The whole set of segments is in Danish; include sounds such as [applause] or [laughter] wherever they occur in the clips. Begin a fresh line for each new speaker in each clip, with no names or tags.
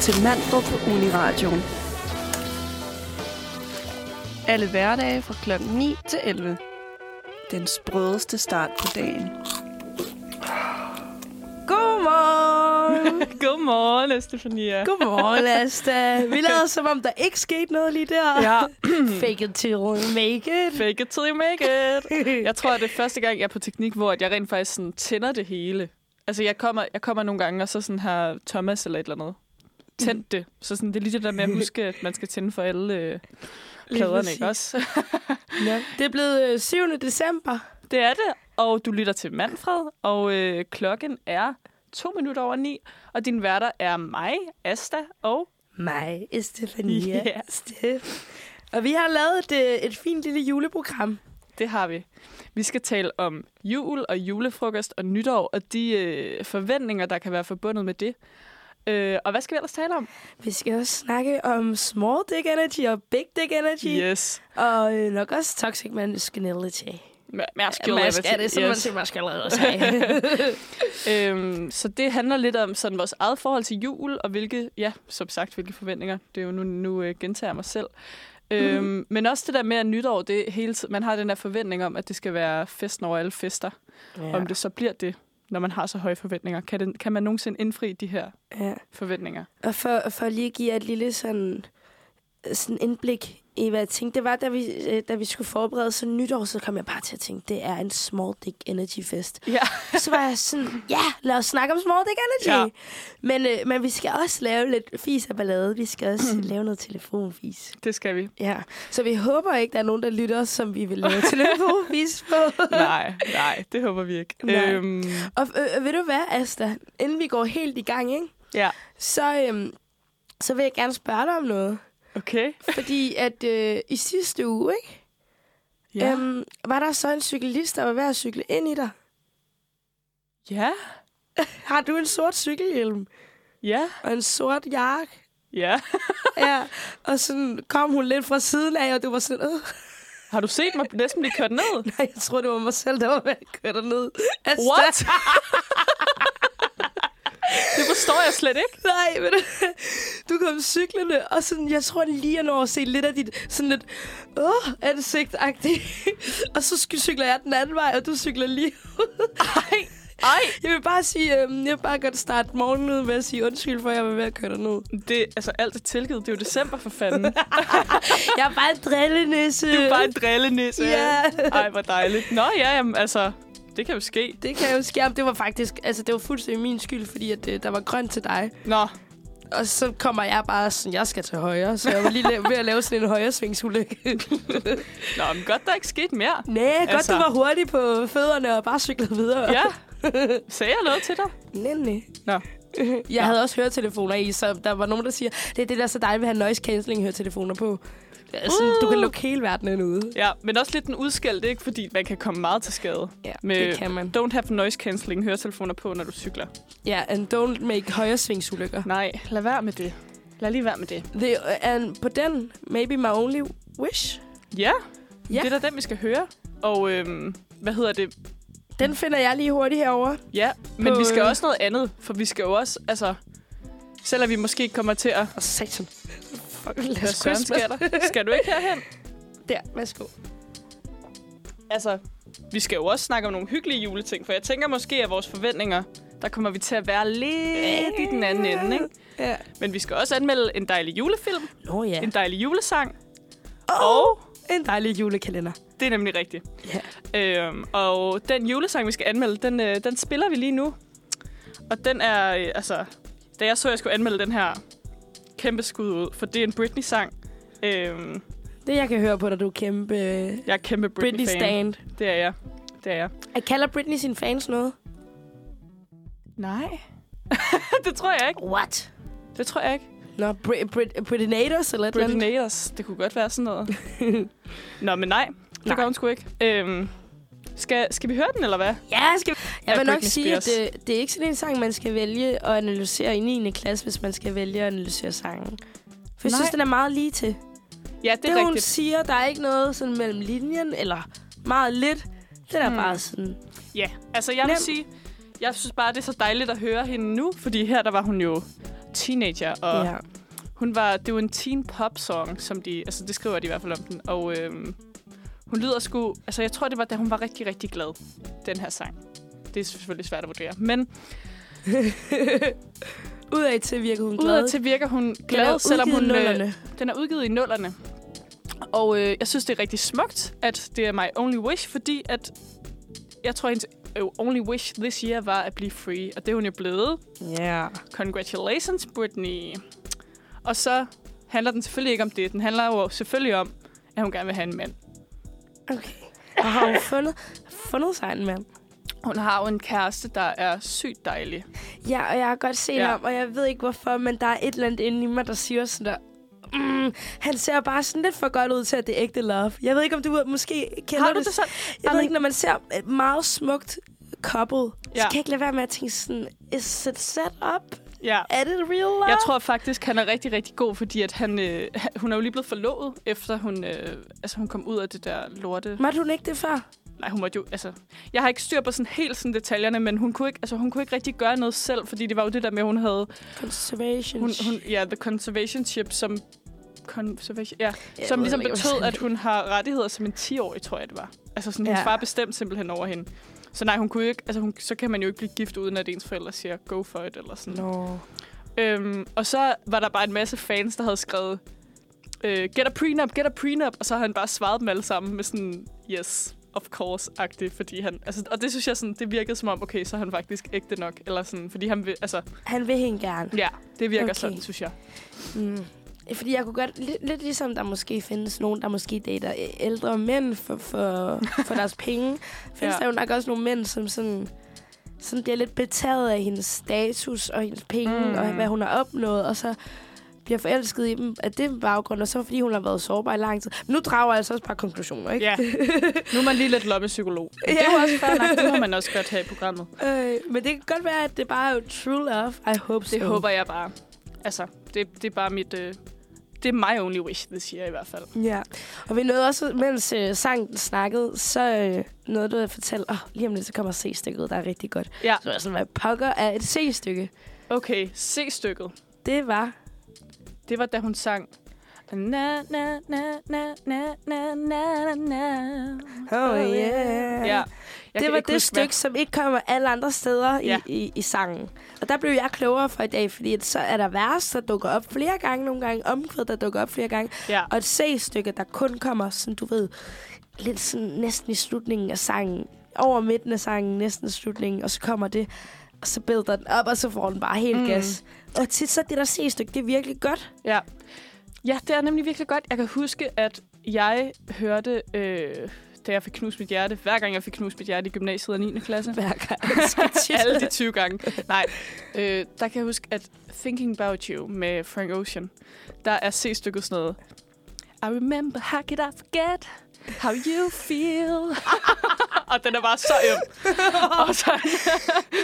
til Mandrup på Uniradioen. Alle hverdage fra kl. 9 til 11. Den sprødeste start på dagen.
[laughs]
Godmorgen!
Godmorgen, Estefania.
[laughs] Godmorgen, Asta. Vi lader som om, der ikke skete noget lige der. [clears throat]
Ja,
Fake it till you make it.
fake it till you make it. Jeg tror, det er første gang, jeg er på teknik, hvor at jeg rent faktisk sådan tænder det hele. Altså, jeg kommer, jeg kommer nogle gange, og så sådan har Thomas eller et eller andet tændt det. Så sådan, det er lige det der med at huske, at man skal tænde for alle øh, pladerne, ikke også?
Ja.
Det er blevet øh, 7. december.
Det er det, og du lytter til Manfred, og øh, klokken er to minutter over ni, og din værter er mig, Asta, og
Mig,
[laughs]
Estefania.
Ja.
Steph.
Og vi har lavet et, øh, et fint lille juleprogram.
Det har vi. Vi skal tale om jul og julefrokost og nytår og de øh, forventninger, der kan være forbundet med det. Øh, og hvad skal vi ellers tale om?
Vi skal også snakke om small dick energy og big dick energy.
Yes.
Og øh, nok også toxic masculinity.
Masculinity.
er det, som man
yes.
siger, man skal lade
[laughs]
sig.
øhm, så det handler lidt om sådan vores eget forhold til jul, og hvilke, ja, som sagt, hvilke forventninger. Det er jo nu, nu øh, gentager jeg mig selv. Øhm, Men også det der med, at nytår, det er hele tiden, man har den der forventning om, at det skal være festen over alle fester. Ja. Om det så bliver det, når man har så høje forventninger. Kan, den, kan man nogensinde indfri de her
Ja.
forventninger?
Og for, for lige at give jer et lille sådan, sådan indblik i, hvad jeg tænkte, det var, da vi, øh, da vi skulle forberede så nytår, så kom jeg bare til at tænke, det er en small dick energy fest.
Ja.
Så var jeg sådan, [laughs] ja, lad os snakke om small dick energy. Ja.
Ja.
Men, øh, men vi skal også lave lidt fis og ballade. Vi skal
[clears throat]
også lave noget telefonfis.
Det skal [laughs] vi.
Ja, så vi håber ikke, der er nogen, der lytter, som vi vil lave telefonfis på.
[laughs] Nej, nej, det håber vi ikke.
Nej.
Øhm,
Og øh, ved du hvad, Asta? Inden vi går helt i gang, ikke?
ja,
Så, øhm, så vil jeg gerne spørge dig om noget.
okay. [laughs]
Fordi at øh, i sidste uge, ikke?
Ja. Øhm.
Øhm, var der så en cyklist, der var ved at cykle ind i dig?
ja,
Har du en sort cykelhjelm
ja,
og en sort
[laughs]
jakke?
ja.
Ja, og sådan kom hun lidt fra siden af, og du var sådan, øh, [laughs]
Har du set mig næsten blive kørt ned?
nej, jeg tror, det var mig selv, der var ved at køre dig ned. Altså,
What? [laughs] det forstår jeg slet ikke.
Nej, men [laughs] du kom cyklende, og sådan, jeg tror lige, jeg når at se lidt af dit sådan lidt åh, ansigt [laughs] Og så sk- cykler jeg den anden vej, og du cykler lige ud. Ej.
Ej,
[laughs] Jeg vil bare sige, øhm, jeg vil bare godt starte morgenen ud med at sige undskyld, for jeg var ved at køre dig ned.
det, altså alt er tilgivet. Det er jo december for fanden. [laughs] Det
[laughs] Jeg er bare en drillenisse.
er jo bare en drillenisse.
Ja.
Ej, hvor dejligt. Nå ja, jamen, altså, det kan jo ske.
Det kan jo ske, om det var faktisk, altså det var fuldstændig min skyld, fordi at, øh, der var grønt til dig.
Nå,
Og så kommer jeg bare sådan, jeg skal til højre, så jeg var lige la- ved at lave sådan en [laughs] højresvingsulykke.
Nå men godt, der ikke skete mere.
Nej, godt
Altså.
du var hurtig på fødderne og bare cyklede videre.
Ja, sagde jeg noget til dig?
Nemlig.
Nå,
[laughs] Jeg ja. havde også høretelefoner i, så der var nogen, der siger, det er det, der er så dejligt ved at have noise cancelling høretelefoner på. Altså, uh. Du kan lukke hele verdenen ude.
Ja, men også lidt den udskældte, ikke? Fordi man kan komme meget til skade.
Ja,
med
det kan man.
Don't have noise cancelling høretelefoner på, når du cykler.
Ja, and don't make højresvingsulykker.
Nej, lad være med det. Lad lige være med det.
The, and på den, maybe my only wish.
Ja,
Ja.
ja. det er da den, vi skal høre. Og øhm, hvad hedder det?
Den finder jeg lige hurtigt herover.
Ja, men
På,
vi skal
øh,
også noget andet. For vi skal jo også, altså... Selvom vi måske ikke kommer til at...
Og satan. Fuck, lad
Hvad
os
søren sker der? Skal du ikke
[laughs]
herhen?
Der, værsgo.
Altså, vi skal jo også snakke om nogle hyggelige juleting. For jeg tænker måske, at vores forventninger, der kommer vi til at være lidt i den anden ende, ikke?
Ja.
Men vi skal også anmelde en dejlig julefilm.
Nå ja.
en dejlig julesang.
Og
Og
en dejlig julekalender.
det er nemlig rigtigt.
Ja.
Øhm, og den julesang, vi skal anmelde, den, øh, den spiller vi lige nu. Og den er, øh, altså, da jeg så, at jeg skulle anmelde den her kæmpe skud ud, for det er en Britney-sang. Øhm,
Det, jeg kan høre på dig, du er kæmpe øh,
jeg er kæmpe Britney-fan.
Britney-stand.
det er jeg. Det er jeg.
Jeg kalder Britney sine fans noget.
Nej. [laughs] det tror jeg ikke.
What?
Det tror jeg ikke.
Nå, Brit, Brit, Britinators eller et eller andet.
Britneyers, det kunne godt være sådan [laughs] noget. Nå, men nej. Det
Nej.
gør hun sgu ikke. Øhm, skal, skal vi høre den, eller hvad?
Ja, skal Jeg
Af
vil nok
Britney
sige, at
Spears.
det, det er ikke sådan en sang, man skal vælge at analysere i 9. klasse, hvis man skal vælge at analysere sangen. For jeg
Nej.
synes, den er meget lige til. Det,
Ja, det
det
er
hun
rigtigt.
siger, der er ikke noget sådan mellem linjen, eller meget lidt. Det er
Mm.
bare sådan...
Ja, altså jeg vil
Nem.
sige, jeg synes bare, det er så dejligt at høre hende nu, fordi her der var hun jo teenager, og yeah. hun var, det var en teen pop song, som de, altså det skriver de i hvert fald om den, og øhm, hun lyder sgu, altså jeg tror, det var, da hun var rigtig, rigtig glad, den her sang. Det er selvfølgelig svært at vurdere, men
[laughs] Udad til virker hun glad.
udad til virker hun glad, selvom hun, øh, den er udgivet i nullerne. Og øh, jeg synes, det er rigtig smukt, at det er My Only Wish, fordi at jeg tror, hendes øh, only wish this year var at blive free. Og det er hun jo blevet.
Ja.
Congratulations, Britney. Og så handler den selvfølgelig ikke om det. Den handler jo selvfølgelig om, at hun gerne vil have en mand.
Okay. Og har hun fundet, fundet sig en mand?
Hun har jo en kæreste, der er sygt dejlig.
Ja, og jeg har godt set
Ja.
ja. ham, og jeg ved ikke hvorfor, men der er et eller andet inde i mig, der siger sådan der... Mm, han ser bare sådan lidt for godt ud til, at det er ægte love. Jeg ved ikke, om du måske kender
Har du
det.
det sådan?
Jeg
Ej,
ved ikke, når man ser et meget smukt couple, ja.
Ja.
så kan jeg ikke lade være med at tænke sådan, is it set up?
Ja.
Er det real love?
Jeg tror faktisk, han er rigtig, rigtig god, fordi at han, øh, hun er jo lige blevet forlovet, efter hun, øh, altså, hun kom ud af det der lorte
Måtte hun ikke det før?
Nej, hun måtte jo, altså... Jeg har ikke styr på sådan helt sådan detaljerne, men hun kunne ikke, altså, hun kunne ikke rigtig gøre noget selv, fordi det var jo det der med, at hun havde...
Conservation.
Hun, hun, ja, the conservation chip, som... Conservation, ja,
Jeg
som
ved
ligesom
ikke, hvad
betød,
sådan-
at hun har rettigheder som en 10-årig, tror jeg, det var. Altså, sådan, ja. hendes
Ja.
far bestemte simpelthen over hende. Så nej, hun kunne jo ikke, altså, hun, så kan man jo ikke blive gift, uden at ens forældre siger, go for it, eller sådan.
Nå.
Øhm, og så var der bare en masse fans, der havde skrevet, øh, get a prenup, get a prenup, og så har han bare svaret dem alle sammen med sådan, yes, of course-agtigt, fordi han, altså, og det synes jeg sådan, det virkede som om, okay, så er han faktisk ægte nok, eller sådan, fordi han vil, altså,
Han vil hende gerne.
ja, det virker okay.
Okay.
sådan, synes jeg.
Mm. Fordi jeg kunne godt, lidt, lidt ligesom der måske findes nogen, der måske dater æ- ældre mænd for, for, for deres penge, findes
Ja.
ja. der jo nok også nogle mænd, som sådan, sådan bliver lidt betaget af hendes status og hendes penge
Mm.
mm. og hvad hun har opnået, og så bliver forelsket i dem af den baggrund, og så fordi hun har været sårbar i lang tid. Men nu drager jeg altså også bare konklusioner, ikke? [laughs]
Ja, nu er man lige lidt lommepsykolog. Ja. Det er jo også fair nok, det må man også godt have i programmet.
Øh, men det kan godt være, at det bare er jo true love. I hope
Det
so.
håber jeg bare. Altså, det, det er bare mit, øh, det er my only wish, det siger jeg i hvert fald.
Ja, og vi nåede også, mens øh, sangen snakkede, så øh, nåede du at fortælle, åh, oh, lige om lidt, så kommer C-stykket, der er rigtig godt.
Ja,
Så var jeg sådan, hvad pokker er et C-stykke?
okay, se stykket.
Det var...
Det var, da hun sang... Na, na, na, na, na, na, na, na.
Oh
Ja.
yeah.
Jeg
det
kan
var
ikke
det
huske,
stykke,
Hvad...
som ikke kommer alle andre steder
Ja.
ja. i, i, i sangen. Og der blev jeg klogere for i dag, fordi at så er der vers, der dukker op flere gange nogle gange, omkvæd, der dukker op flere gange,
Ja.
og et C-stykke, der kun kommer, sådan du ved, lidt sådan næsten i slutningen af sangen, over midten af sangen, næsten i slutningen, og så kommer det, og så bælter den op, og så får den bare helt
Mm.
mm. gas. Og tit så er det der C-stykke, det er virkelig godt.
ja. Ja, det er nemlig virkelig godt. Jeg kan huske, at jeg hørte, øh, da jeg fik knust mit hjerte, hver gang jeg fik knust mit hjerte i gymnasiet i 9. klasse.
Hver
[laughs]
gang. Skal tit.
Alle de 20 gange. Nej, øh, der kan jeg huske, at Thinking About You med Frank Ocean, der er C-stykket sådan noget. I remember, how could I forget how you feel? [laughs] og den er bare så [laughs] øm. og så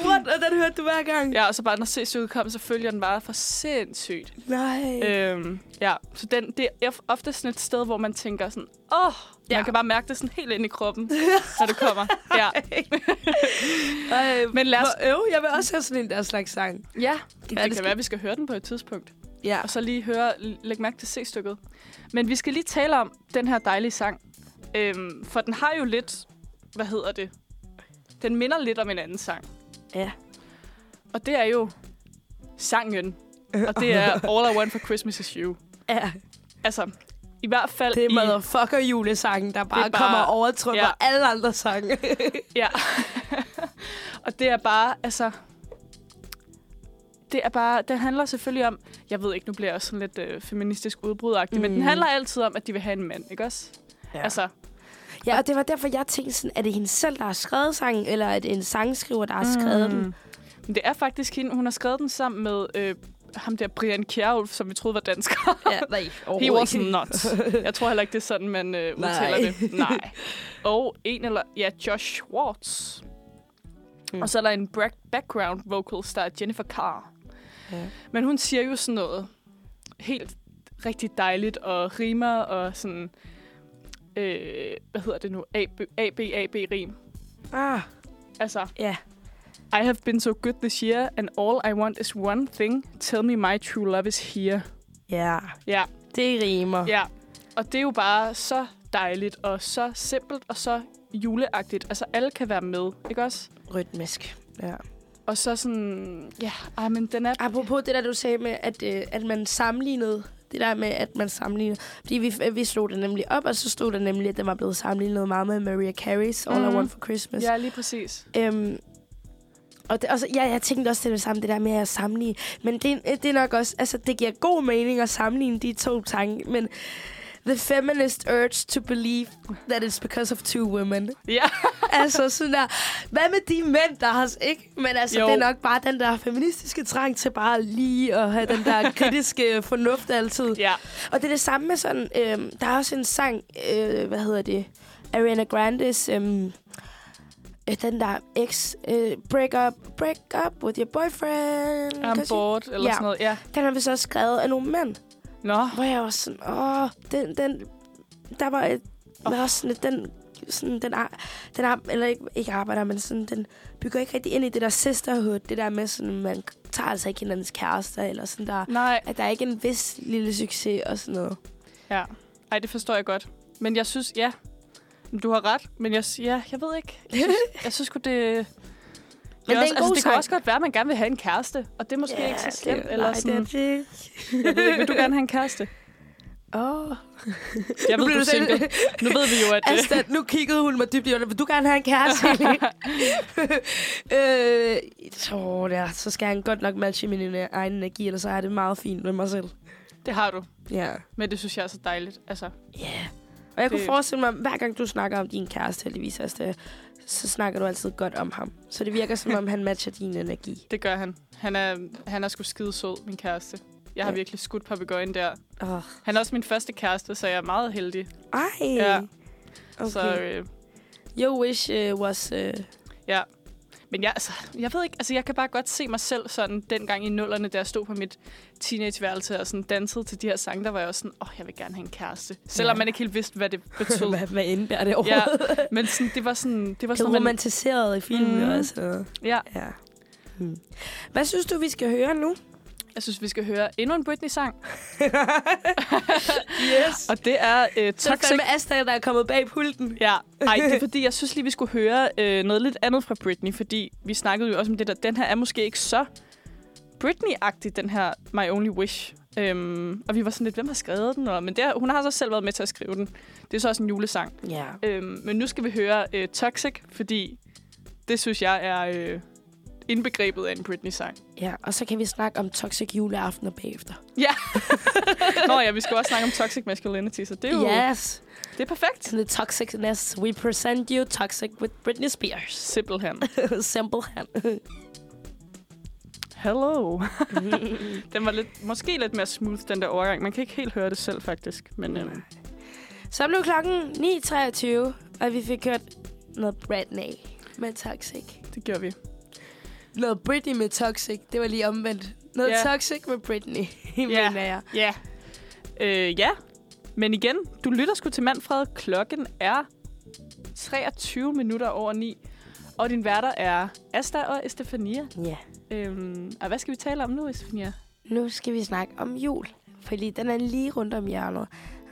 What? Og den hørte du hver gang?
Ja, og så bare når C-stykket kom, så følger den bare for sindssygt.
Nej.
Øhm, ja, så den, det er of- ofte sådan et sted, hvor man tænker sådan, åh, oh, ja. man
Ja.
kan bare mærke det sådan helt ind i [laughs] kroppen, når det kommer. Ja,
Øh,
Men lad os-
hvor- øv, jeg vil også have sådan en der slags sang.
ja det,
det
det kan
skal-
være, at vi skal høre den på et tidspunkt.
Ja.
Og så lige høre, l- lægge mærke til C-stykket. Men vi skal lige tale om den her dejlige sang. Øhm, for den har jo lidt, hvad hedder det? Den minder lidt om en anden sang.
Ja.
Og det er jo sangen.
Øh.
Og det er All I Want For Christmas Is You.
ja.
Altså, i hvert fald...
Det er
i,
motherfucker julesangen, der bare,
Det er bare-
kommer og overtrummer
ja.
ja. alle andre sange.
Ja. [laughs] og det er bare, altså... Det er bare... Den handler selvfølgelig om... Jeg ved ikke, nu bliver jeg også sådan lidt øh, feministisk udbrudagtig, mm. men den
Mm.
handler altid om, at de vil have en mand, ikke også? Ja. Altså,
ja, og det var derfor, jeg tænkte sådan, er det hende selv, der har skrevet sangen, eller er det en sangskriver, der har
Mm.
skrevet den?
men det er faktisk hende. Hun har skrevet den sammen med øh, ham der Brian Kjærulf, som vi troede var dansker. [laughs]
Ja, nej,
He was not.
[laughs]
Jeg tror heller ikke, det er sådan, man øh, udtaler
Nej.
det.
[laughs]
Nej. Og en eller... Ja, Josh Schwartz. Mm. Og så er der en bra- background vocals, der er Jennifer Carr.
Ja.
Men hun siger jo sådan noget helt rigtig dejligt og rimer og sådan... Øh, hvad hedder det nu? AB, AB, AB-rim.
Ah,
Altså,
ja.
I have been so good this year, and all I want is one thing. Tell me my true love is here.
Ja,
Ja,
det rimer.
ja. Og det er jo bare så dejligt, og så simpelt, og så juleagtigt. Altså, alle kan være med, ikke også?
Rytmisk. Ja.
Og så sådan, ja, ej, men den er...
Apropos det der, du sagde med, at, øh, at man sammenlignede det der med, at man sammenlignede. Fordi vi, øh, vi slog det nemlig op, og så stod der nemlig, at den var blevet sammenlignet meget med Mariah Carey's All mm. I
Mhm.
Want For Christmas.
Ja, lige præcis.
Øhm, og, det, og så, ja, jeg tænkte også til det samme, det der med at sammenligne. Men det, det er nok også, altså det giver god mening at sammenligne de to tanker, men the feminist urge to believe that it's because of two women.
Ja.
altså sådan der, hvad med de mænd, der har, ikke? Men altså, jo.
Jo.
det er nok bare den der feministiske trang til bare lige at have den der kritiske fornuft altid.
Ja.
Og det er det samme med sådan, øhm, der er også en sang, øh, hvad hedder det, Ariana Grande's, øhm, øh, den der ex, øh, break up, break up with your boyfriend. Kan
I'm
du
bored, eller
Ja.
sådan noget. Ja.
sige? Den har vi så skrevet af nogle mænd,
Nå.
hvor jeg var sådan, åh, den, den, der var, et, oh. var også sådan lidt, den, sådan, den, ar, den ar, eller ikke, ikke arbejder, men sådan, den bygger ikke rigtig ind i det der sisterhood, det der med sådan, man tager altså ikke hinandens kærester, eller sådan der,
Nej.
at der er ikke en vis lille succes og sådan noget.
[laughs] Ja. Ej, det forstår jeg godt. Men jeg synes, ja. Du har ret, men jeg, ja, jeg ved ikke. Jeg synes, jeg synes sgu, det...
Men det er
også,
en
altså,
god
det
sang.
kunne også godt være, at man gerne vil have en kæreste, og det er måske
Ja,
ikke så
det-
slemt. eller
nej,
sådan,
Det er det.
jeg ved, ikke, vil du gerne have en
[laughs]
kæreste?
Åh.
Jeg ved, du
Nu blev
er
du selv-
single. Nu ved vi jo, at... øh,
Altså, nu kiggede hun mig dybt i øjnene. Vil du gerne have en
[laughs]
kæreste? [laughs] øh, så, der, så skal han godt nok matche min ener- egen energi, ellers så er det meget fint med mig selv.
øh, det har du.
Ja.
Men det synes jeg er så dejligt. Altså,
Yeah. Og jeg kunne
Det-
forestille mig, hver gang du snakker om din kæreste, heldigvis, altså, så snakker du altid godt om ham. Så det virker, som om han matcher din energi.
det gør han. Han er, han er sgu skide sød, min kæreste. Jeg har
Ja.
virkelig skudt papegøjen der.
Oh.
Han er også min første kæreste, så jeg er meget heldig.
Ej.
Ja.
Okay.
Så, øh,
Your wish uh, was... Uh,
Ja. Men jeg, altså, jeg ved ikke, altså jeg kan bare godt se mig selv sådan dengang i nullerne, da jeg stod på mit teenageværelse og sådan dansede til de her sange, der var jeg også sådan, åh, oh, jeg vil gerne have en kæreste. Selvom
Ja.
man ikke helt vidste, hvad det betød.
[laughs] hvad, hvad indebærer det
ja,
overhovedet?
men sådan, det var sådan, det var
Det
sådan,
er
noget, man,
romantiseret i filmen
Mhm.
mm. også.
ja,
Ja. Hmm. Hvad synes du, vi skal høre [laughs] nu?
jeg synes, vi skal høre endnu en Britney-sang.
[laughs] yes. Og
Og det er øh,
så er det
Toxic.
fandme Asta, der er kommet bag pulten.
Ja, ej, det er fordi, jeg synes lige, vi skulle høre øh, noget lidt andet fra Britney, fordi vi snakkede jo også om det der, den her er måske ikke så Britney-agtig, den her My Only Wish. Øhm, og vi var sådan lidt, hvem har skrevet den? Og, men det, er- hun har så selv været med til at skrive den. Det er så også en julesang.
Ja.
Øhm, men nu skal vi høre øh, Toxic, fordi det synes jeg er øh, indbegrebet af en Britney-sang.
ja. Og så kan vi snakke om toxic juleaftener bagefter.
Ja. Nå ja, vi skal også snakke om Toxic Masculinity, så det er jo
Yes.
det er perfekt.
To the toxicness, we present you toxic with Britney Spears. [laughs]
Simpelthen.
Simple [laughs] hand.
Hello. den var lidt, måske lidt mere smooth, den der overgang. Man kan ikke helt høre det selv, faktisk. Men øhm,
så blev klokken 9.23, og vi fik hørt noget Britney med toxic.
det gjorde vi.
Noget Britney med toxic. Det var lige omvendt. Noget
Ja.
toxic med Britney, [laughs]
Ja.
mener jeg.
Ja. Øh, ja. Men igen, du lytter sgu til Manfred. Klokken er 23 minutter over 9. Og din værter er Asta og Estefania.
Ja.
Øhm, og hvad skal vi tale om nu, Estefania?
Nu skal vi snakke om jul, fordi den er lige rundt om hjørnet.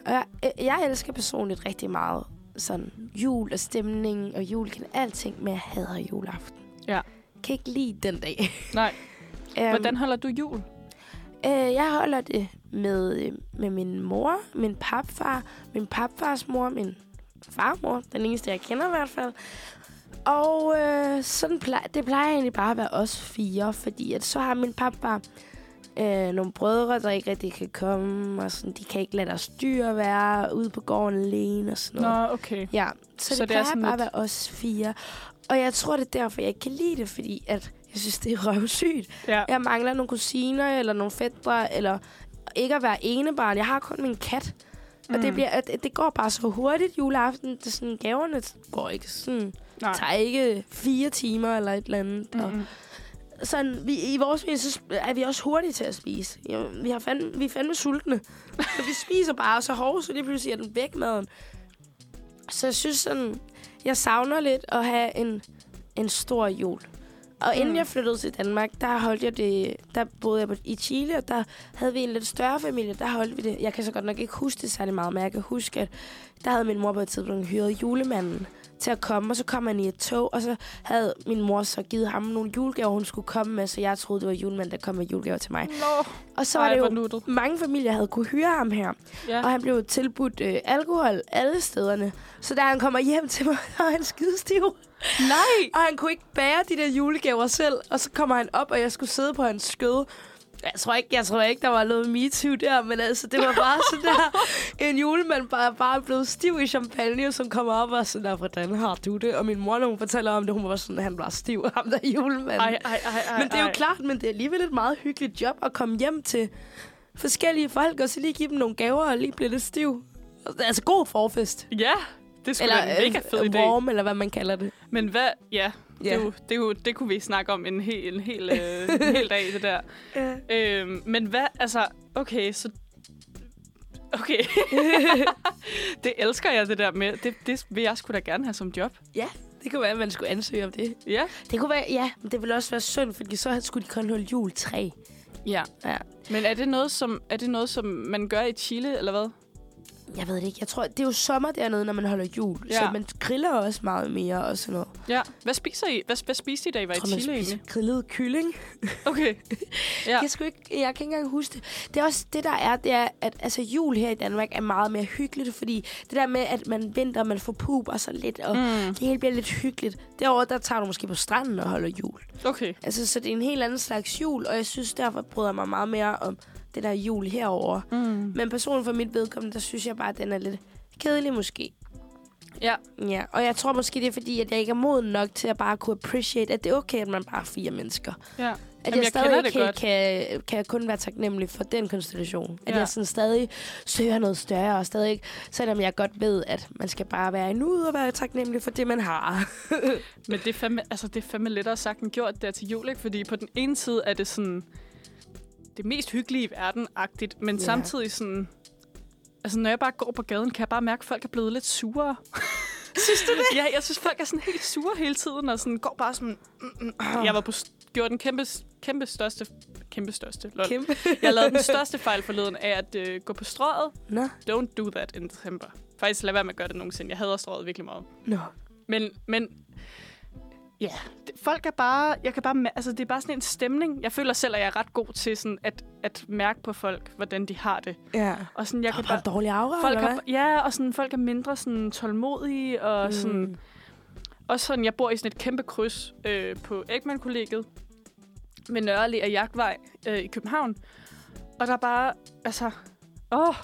Og jeg, øh, jeg elsker personligt rigtig meget sådan jul og stemningen og jul kan alting, men jeg hader juleaften.
Ja.
Kan ikke lide den dag.
Nej,
Øhm,
hvordan holder du jul?
Øh, jeg holder det med, øh, med min mor, min papfar, min papfars mor, min farmor, den eneste jeg kender i hvert fald. Og øh, sådan plejer, det plejer egentlig bare at være os fire, fordi at så har min papfar øh, nogle brødre, der ikke rigtig kan komme, og sådan, de kan ikke lade deres dyr være ude på gården alene og sådan noget.
Nå, okay.
Ja, så,
Så
så det,
det er
det plejer
sådan
bare at
lidt-
være os fire. Og jeg tror, det er derfor, jeg ikke kan lide det, fordi at jeg synes, det er røvsygt.
Ja.
Jeg mangler nogle kusiner, eller nogle fædre, eller ikke at være enebarn. Jeg har kun min kat. Og mm. det, bliver, at det går bare så hurtigt juleaften. Det er sådan, gaverne går ikke sådan,
Nej.
tager ikke fire timer eller et eller andet. Mm. Og
Mm-mm.
sådan, vi, i vores familie, så sp- er vi også hurtige til at spise. Jo, vi, har fandme, vi er fandme sultne. Så vi spiser bare, og så hårdt, så lige pludselig er den væk maden. Så jeg synes sådan, jeg savner lidt at have en, en stor jul. Og
Mm.
inden jeg flyttede til Danmark, der holdt jeg det, der boede jeg på, i Chile, og der havde vi en lidt større familie, der holdt vi det. Jeg kan så godt nok ikke huske det særlig meget, men jeg kan huske, at der havde min mor på et tidspunkt hyret julemanden til at komme, og så kom han i et tog, og så havde min mor så givet ham nogle julegaver, hun skulle komme med, så jeg troede, det var julemanden, der kom med julegaver til mig.
Nå,
Og så var
Ej,
det
hvor
jo,
nuttet.
mange familier havde kunne hyre ham her.
Ja.
Og han blev tilbudt øh, alkohol alle stederne. Så da han kommer hjem til mig, [laughs] og han skidestiv.
Nej! Og han kunne ikke bære de der julegaver selv, og så kommer han op, og jeg skulle sidde på hans skød. Jeg tror ikke, jeg tror ikke der var noget MeToo der, men altså, det var bare sådan der, [laughs] en julemand bare, bare blevet stiv i champagne, som kommer op og sådan der, hvordan har du det? Og min mor, når hun fortæller om det, hun var sådan, han var stiv, ham der
Øhm,
julemanden.
Ej, ej, ej, ej,
Men det er jo
ej.
klart, men det er alligevel et meget hyggeligt job at komme hjem til forskellige folk, og så lige give dem nogle gaver, og lige blive lidt stiv. Altså god forfest.
Ja, det skulle være en mega fed
øh,
idé.
warm, eller hvad man kalder det.
Men hvad... Ja, det,
Ja.
er jo, det, er jo, det kunne vi snakke om en hel, en hel, øh, en hel dag, det der.
Ja.
Øhm, men hvad... Altså, okay, så... Okay. det elsker jeg, det der med. Det, det vil jeg sgu da gerne have som job.
Ja, det kunne være, at man skulle ansøge om det.
Ja.
Det kunne være, ja, men det ville også være synd, fordi så skulle de kun holde jul 3.
Ja.
Ja.
Men er det, noget, som, er det noget, som man gør i Chile, eller hvad?
Jeg ved det ikke. Jeg tror, det er jo sommer dernede, når man holder jul. Ja.
Ja.
Så man griller også meget mere og sådan noget.
Ja. Hvad spiser I? Hvad, hvad spiste I, da I var
Jeg tror,
i
man
Chile
spiser
egentlig?
grillet kylling.
Okay. Ja.
Ja. Jeg, skulle ikke, jeg kan ikke engang huske det. Det er også det, der er, det er, at altså, jul her i Danmark er meget mere hyggeligt, fordi det der med, at man venter, og man får puber sig lidt, og
Mm.
mm. det hele bliver lidt hyggeligt. Derover der tager du måske på stranden og holder jul.
Okay.
Altså, så det er en helt anden slags jul, og jeg synes derfor bryder jeg mig meget mere om det der jul herover.
Mm.
Men personen for mit vedkommende, der synes jeg bare, at den er lidt kedelig måske.
Ja.
Ja, og jeg tror måske, det er fordi, at jeg ikke er moden nok til at bare kunne appreciate, at det er okay, at man bare er fire mennesker.
Ja.
At
Jamen, jeg
jeg stadig
kender det
ikke helt
godt.
kan, kan jeg kun være taknemmelig for den konstellation. At
Ja.
ja. jeg sådan stadig søger noget større, og stadig ikke, selvom jeg godt ved, at man skal bare være i nuet og være taknemmelig for det, man har.
Men det er, fandme, altså, det er fandme lettere sagt end gjort der til jul, ikke? Fordi på den ene side er det sådan det mest hyggelige i verden-agtigt, men
Ja.
samtidig sådan... Altså, når jeg bare går på gaden, kan jeg bare mærke, at folk er blevet lidt sure. [laughs] synes du det? Ja, jeg synes, folk er sådan helt sure hele tiden, og sådan går bare sådan... Mm, mm. Jeg var på st- gjorde den kæmpe, kæmpe største... Kæmpe største. Lol.
Kæmpe.
Jeg lavede den største fejl forleden af at øh, gå på strøget.
Nå.
Don't do that in December. Faktisk lad være med at gøre det nogensinde. Jeg hader strøget virkelig meget.
Nå.
Men, men ja, det- folk er bare, jeg kan bare, mær- altså det er bare sådan en stemning. Jeg føler selv, at jeg er ret god til sådan at, at mærke på folk, hvordan de har det.
Ja.
Og sådan, jeg
Jeg
kan
kan bare
bare,
en dårlig aura,
folk
eller
er, ja, og sådan, folk er mindre sådan tålmodige, og mm. sådan, og sådan, jeg bor i sådan et kæmpe kryds øh, på Ekman-kollegiet med Nørre Allé og Jagtvej øh, i København. Og der er bare, altså, åh,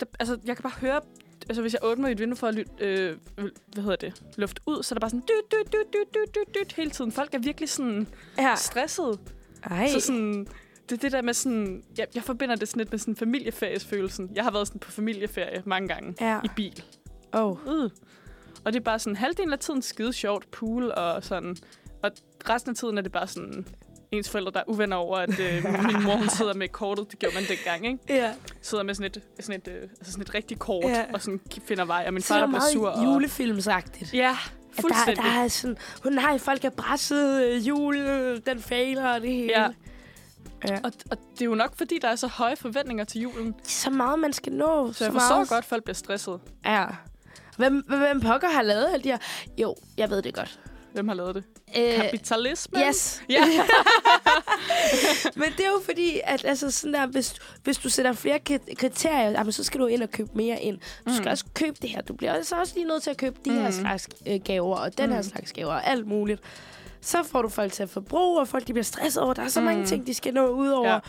der, altså, jeg kan bare høre, altså hvis jeg åbner et vindue for at lytte, øh, hvad hedder det, luft ud, så er der bare sådan, dyt, dyt, dyt, dyt, dyt, dyt, dyt, hele tiden. Folk er virkelig sådan
Ja.
stressede.
Ej.
Så sådan, det er det der med sådan, jeg, jeg forbinder det sådan lidt med sådan familieferiesfølelsen. Jeg har været sådan på familieferie mange gange
Ja.
i bil.
Oh.
Uh. Og det er bare sådan, halvdelen af tiden skide sjovt, pool og sådan. Og resten af tiden er det bare sådan, ens forældre, der er uvenner over, at
[laughs]
øh, min mor hun sidder med kortet. Det gjorde man dengang, ikke?
Ja.
Sidder med sådan et, sådan et, øh, altså sådan et rigtig kort,
Ja.
og sådan finder vej, og min
Så
far
er
der
det
bliver
meget
sur. og-
julefilmsagtigt.
Ja,
At der,
fuldstændig.
der er sådan, hun nej, folk er presset, øh, jul, øh, den fejler og det hele.
Ja.
Ja. Ja.
Og, og det er jo nok, fordi der er så høje forventninger til julen.
Så meget, man skal nå.
Så jeg
meget.
forstår godt, at folk bliver stresset.
Ja. Hvem, hvem pokker har lavet alle de her? Jo, jeg ved det godt.
Hvem har lavet det?
Øh,
Kapitalisme?
yes.
Ja.
[laughs] Men det er jo fordi, at altså, sådan der, hvis, hvis du sætter flere kri- kriterier, jamen, så skal du ind og købe mere ind. Du skal
Mm.
også købe det her. Du bliver også, også lige nødt til at købe de
Mm.
her slags øh, gaver, og den
Mm.
her slags gaver, og alt muligt. Så får du folk til at forbruge, og folk de bliver stresset over, der er så mange
Mm.
ting, de skal nå ud over.
Ja.
Ja.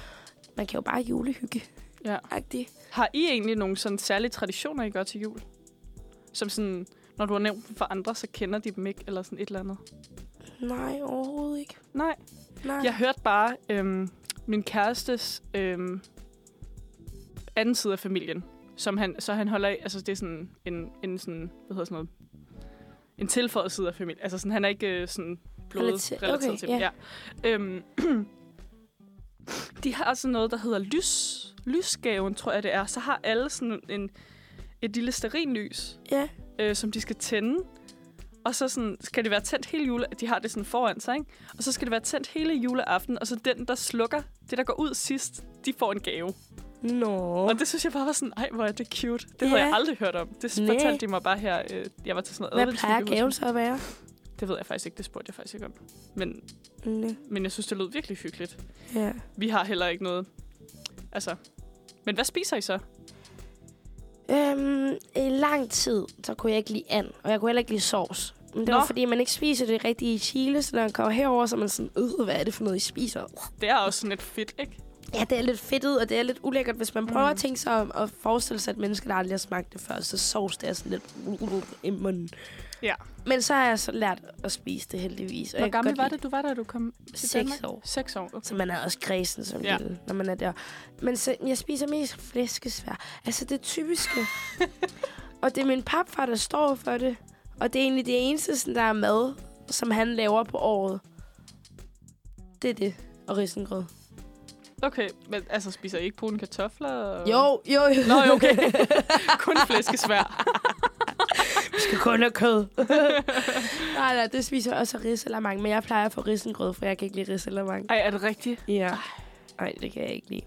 Man kan jo bare julehygge.
Ja.
Agtig.
Har I egentlig nogle sådan særlige traditioner, I gør til jul? Som sådan, når du har nævnt dem for andre, så kender de dem ikke, eller sådan et eller andet?
Nej, overhovedet ikke.
Nej.
Nej.
Jeg hørte bare øhm, min kærestes øhm, anden side af familien, som han, så han holder af, altså det er sådan en, en sådan, hvad hedder sådan noget, en tilføjet side af familien. Altså sådan, han er ikke øh, sådan blodet
Relater-
relateret
okay,
til dem.
ja.
Ja. Øhm, [clears throat] de har sådan noget, der hedder lys, lysgaven, tror jeg det er. Så har alle sådan en, et lille sterinlys,
Ja.
øh, som de skal tænde. og så sådan, skal det være tændt hele jule... De har det sådan foran sig, ikke? Og så skal det være tændt hele juleaften, og så den, der slukker, det, der går ud sidst, de får en gave.
Nå.
Og det synes jeg bare var sådan, ej, hvor er det cute. Det havde
Ja.
jeg aldrig hørt om. Det
Næ.
fortalte de mig bare her. øh, Jeg var til sådan noget
Hvad plejer
adventshygge hos
gaven så at være?
dem. Det ved jeg faktisk ikke. Det spurgte jeg faktisk ikke om. Men,
Nå.
men jeg synes, det lød virkelig hyggeligt.
Ja.
Vi har heller ikke noget... Altså... Men hvad spiser I så?
Øhm, I lang tid, så kunne jeg ikke lide and, og jeg kunne heller ikke lide sovs. Men det Nå.
Nå.
var, fordi man ikke spiser det rigtige i Chile, så når man kommer herover, så er man sådan, øh, hvad er det for noget, I spiser?
Det er også sådan lidt fedt, ikke?
Ja, det er lidt fedtet, og det er lidt ulækkert, hvis man prøver
Mm.
mm. at tænke sig om og forestille sig, at mennesker, der aldrig har smagt det før, så sovs det er sådan lidt i munden.
Ja.
Men så har jeg så lært at spise det heldigvis. og
Hvor
jeg kan
gammel
godt
var
lide
det, du var der, du kom til Danmark?
Seks år.
Seks år, okay.
Så man er også kredsen som
Ja.
ja. lille, når man er der. Men så, jeg spiser mest flæskesvær. Altså
[laughs]
det typiske. og det er min papfar, der står for det. Og det er egentlig det eneste, sådan, der er mad, som han laver på året. Det er det. Og risengrød.
Okay, men altså spiser I ikke brune kartofler? Og...
Jo, jo, jo.
Nå, jo, [laughs] okay. Kun flæskesvær.
Vi [laughs] skal kun have kød. [laughs] nej, nej, det spiser jeg også ris eller mange. Men jeg plejer at få risengrød, for jeg kan ikke lide ris eller mange.
Ej, er det rigtigt?
Ja. Nej, det kan jeg ikke lide.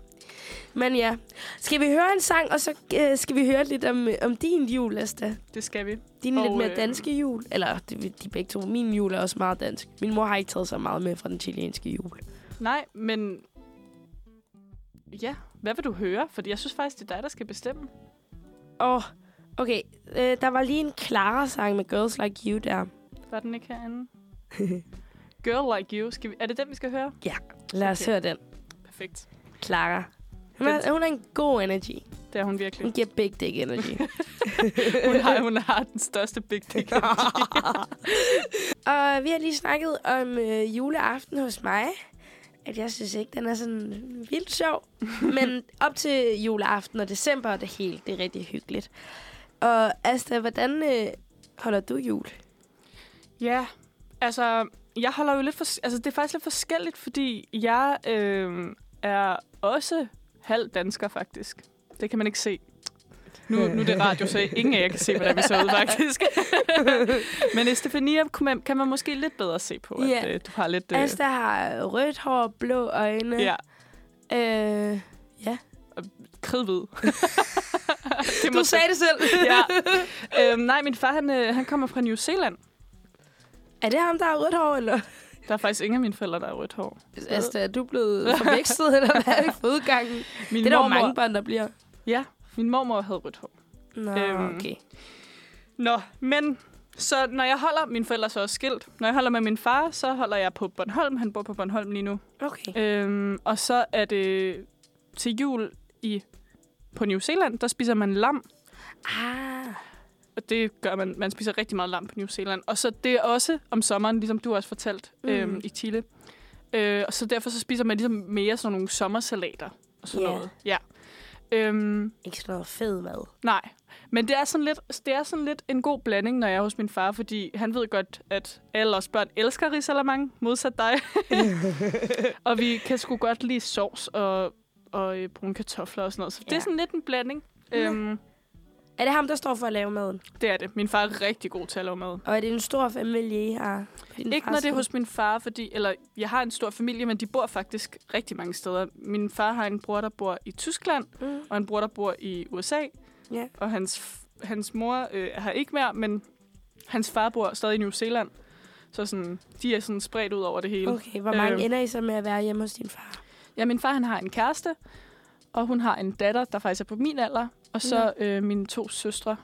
Men ja. Skal vi høre en sang, og så øh, skal vi høre lidt om, om din jul, Asta?
Det skal vi.
Din
Og,
lidt mere
øh,
danske jul. Eller de, de begge to. Min jul er også meget dansk. Min mor har ikke taget så meget med fra den chilenske jul.
Nej, men... Ja, hvad vil du høre? Fordi jeg synes faktisk, det er dig, der skal bestemme.
Åh, oh, okay. Øh, der var lige en Clara-sang med Girls Like You der.
Var den ikke [laughs] herinde? Girl Like You. Skal vi... Er det den, vi skal høre?
Lad os
Okay.
høre den.
Perfekt.
Clara. Hun har, hun har en god energy.
Det er hun virkelig.
Hun giver big dick energy.
Hun har, hun har den største big [laughs] dick.
Og vi har lige snakket om øh, juleaften hos mig. At jeg synes ikke, den er sådan vildt
[laughs]
sjov. Men op til juleaften og december er det helt, det er rigtig hyggeligt. Og Asta, hvordan øh, holder du jul?
Ja, altså, jeg holder jo lidt for, altså, det er faktisk lidt forskelligt, fordi jeg øh, er også halv dansker, faktisk. Det kan man ikke se. Nu, nu er det radio, så ingen af jer kan se, hvordan vi så ud,
[laughs]
faktisk. Men Estefania kunne man, kan man måske lidt bedre se på, at
Ja.
øh, du har lidt...
Det. Asta har rødt hår, blå øjne.
ja,
Øh, [laughs]
kridhvid. Det må
Du sagde det selv.
[laughs] ja. øhm, nej, min far, han, øh, han kommer fra New Zealand.
er det ham, der har rødt hår, eller?
Der er faktisk ingen af mine forældre, der har rødt hår.
Asta, er du blevet forvekslet, eller hvad er det
[laughs]
for udgangen?
Min
Det er der
mormor-
jo mange børn, der bliver.
Ja, min mormor havde rødt hår.
Nå,
Øhm,
okay.
Nå, men så når jeg holder, mine forældre er så også skilt, når jeg holder med min far, så holder jeg på Bornholm. Han bor på Bornholm lige nu.
Okay.
Øhm, og så er det til jul i på New Zealand, der spiser man lam.
Ah,
Og det gør man. Man spiser rigtig meget lam på New Zealand. Og så det er også om sommeren, ligesom du også fortalt mm. øhm,
Mm.
i Chile. Øh, og så derfor så spiser man ligesom mere sådan nogle sommersalater og sådan
Ja.
noget. Ja. Øhm,
ikke sådan noget fed mad.
Nej, men det er, sådan lidt, det er sådan lidt en god blanding, når jeg er hos min far, fordi han ved godt, at alle os børn elsker risalamang, modsat [laughs] dig. og vi kan sgu godt lide sovs og, og øh, brune kartofler og sådan noget. Så ja. det er
Ja.
sådan lidt en blanding.
Ja.
Øhm,
Er det ham, der står for at lave maden?
det er det. Min far er rigtig god til at lave mad.
Og er det en stor familie, I har? Din
Ikke
fars
når det er
side?
hos min far, fordi, eller jeg har en stor familie, men de bor faktisk rigtig mange steder. Min far har en bror, der bor i Tyskland,
Mm.
og en bror, der bor i USA.
Ja.
Og hans, f- hans mor øh, er her ikke mere, men hans far bor stadig i New Zealand. Så sådan, de er sådan spredt ud over det hele. Okay.
Okay, hvor mange
Øhm.
øh. ender I så med at være hjemme hos din far?
Ja, min far han har en kæreste, og hun har en datter, der faktisk er på min alder, og så øh, mine to søstre.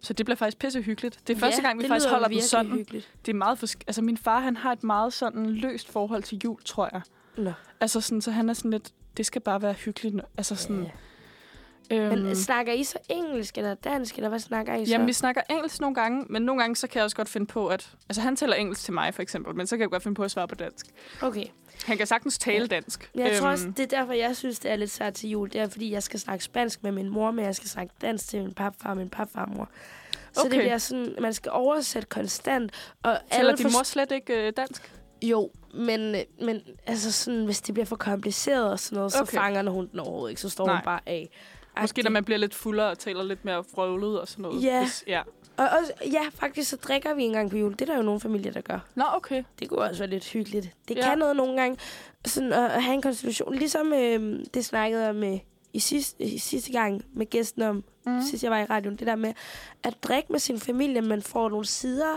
Så det bliver faktisk pisse hyggeligt. Det er første
Ja,
gang, vi
det
faktisk
lyder
holder den
virkelig
sådan.
Hyggeligt.
Det er meget forsk- Altså, min far, han har et meget sådan løst forhold til jul, tror jeg.
Nå.
Altså, sådan, så han er sådan lidt, det skal bare være hyggeligt. nu." Altså, sådan...
Ja.
Øhm,
Men snakker I så engelsk eller dansk, eller hvad snakker I så?
Jamen, vi snakker engelsk nogle gange, men nogle gange så kan jeg også godt finde på, at... Altså, han taler engelsk til mig, for eksempel, men så kan jeg godt finde på at svare på dansk.
Okay.
Han kan sagtens tale dansk. Øhm,
Jeg tror også, det er derfor, jeg synes, det er lidt svært til jul. Det er, fordi jeg skal snakke spansk med min mor, men jeg skal snakke dansk til min papfar og min papfarmor. Så
Okay.
det bliver sådan, man skal oversætte konstant. Og
Taler
alle
din mor slet ikke øh, dansk?
Jo, men, men altså sådan, hvis det bliver for kompliceret og sådan noget, okay.
Okay.
så fanger hun den overhovedet ikke. Så står Nej.
Nej.
hun bare af.
Måske når man bliver lidt fuldere og taler lidt mere frøvlet og sådan noget.
Ja.
Hvis, ja.
Og også, ja, faktisk så drikker vi en gang på jul. Det er der jo nogle familier, der gør.
Nå, okay.
Det kunne også være lidt hyggeligt. Det
Ja.
ja. kan noget nogle gange, sådan at at have en konstitution. Ligesom øh, det snakkede jeg om øh, i, sidste, i sidste gang med gæsten om, mm. sidst jeg var i radioen, det der med at drikke med sin familie, man får nogle sider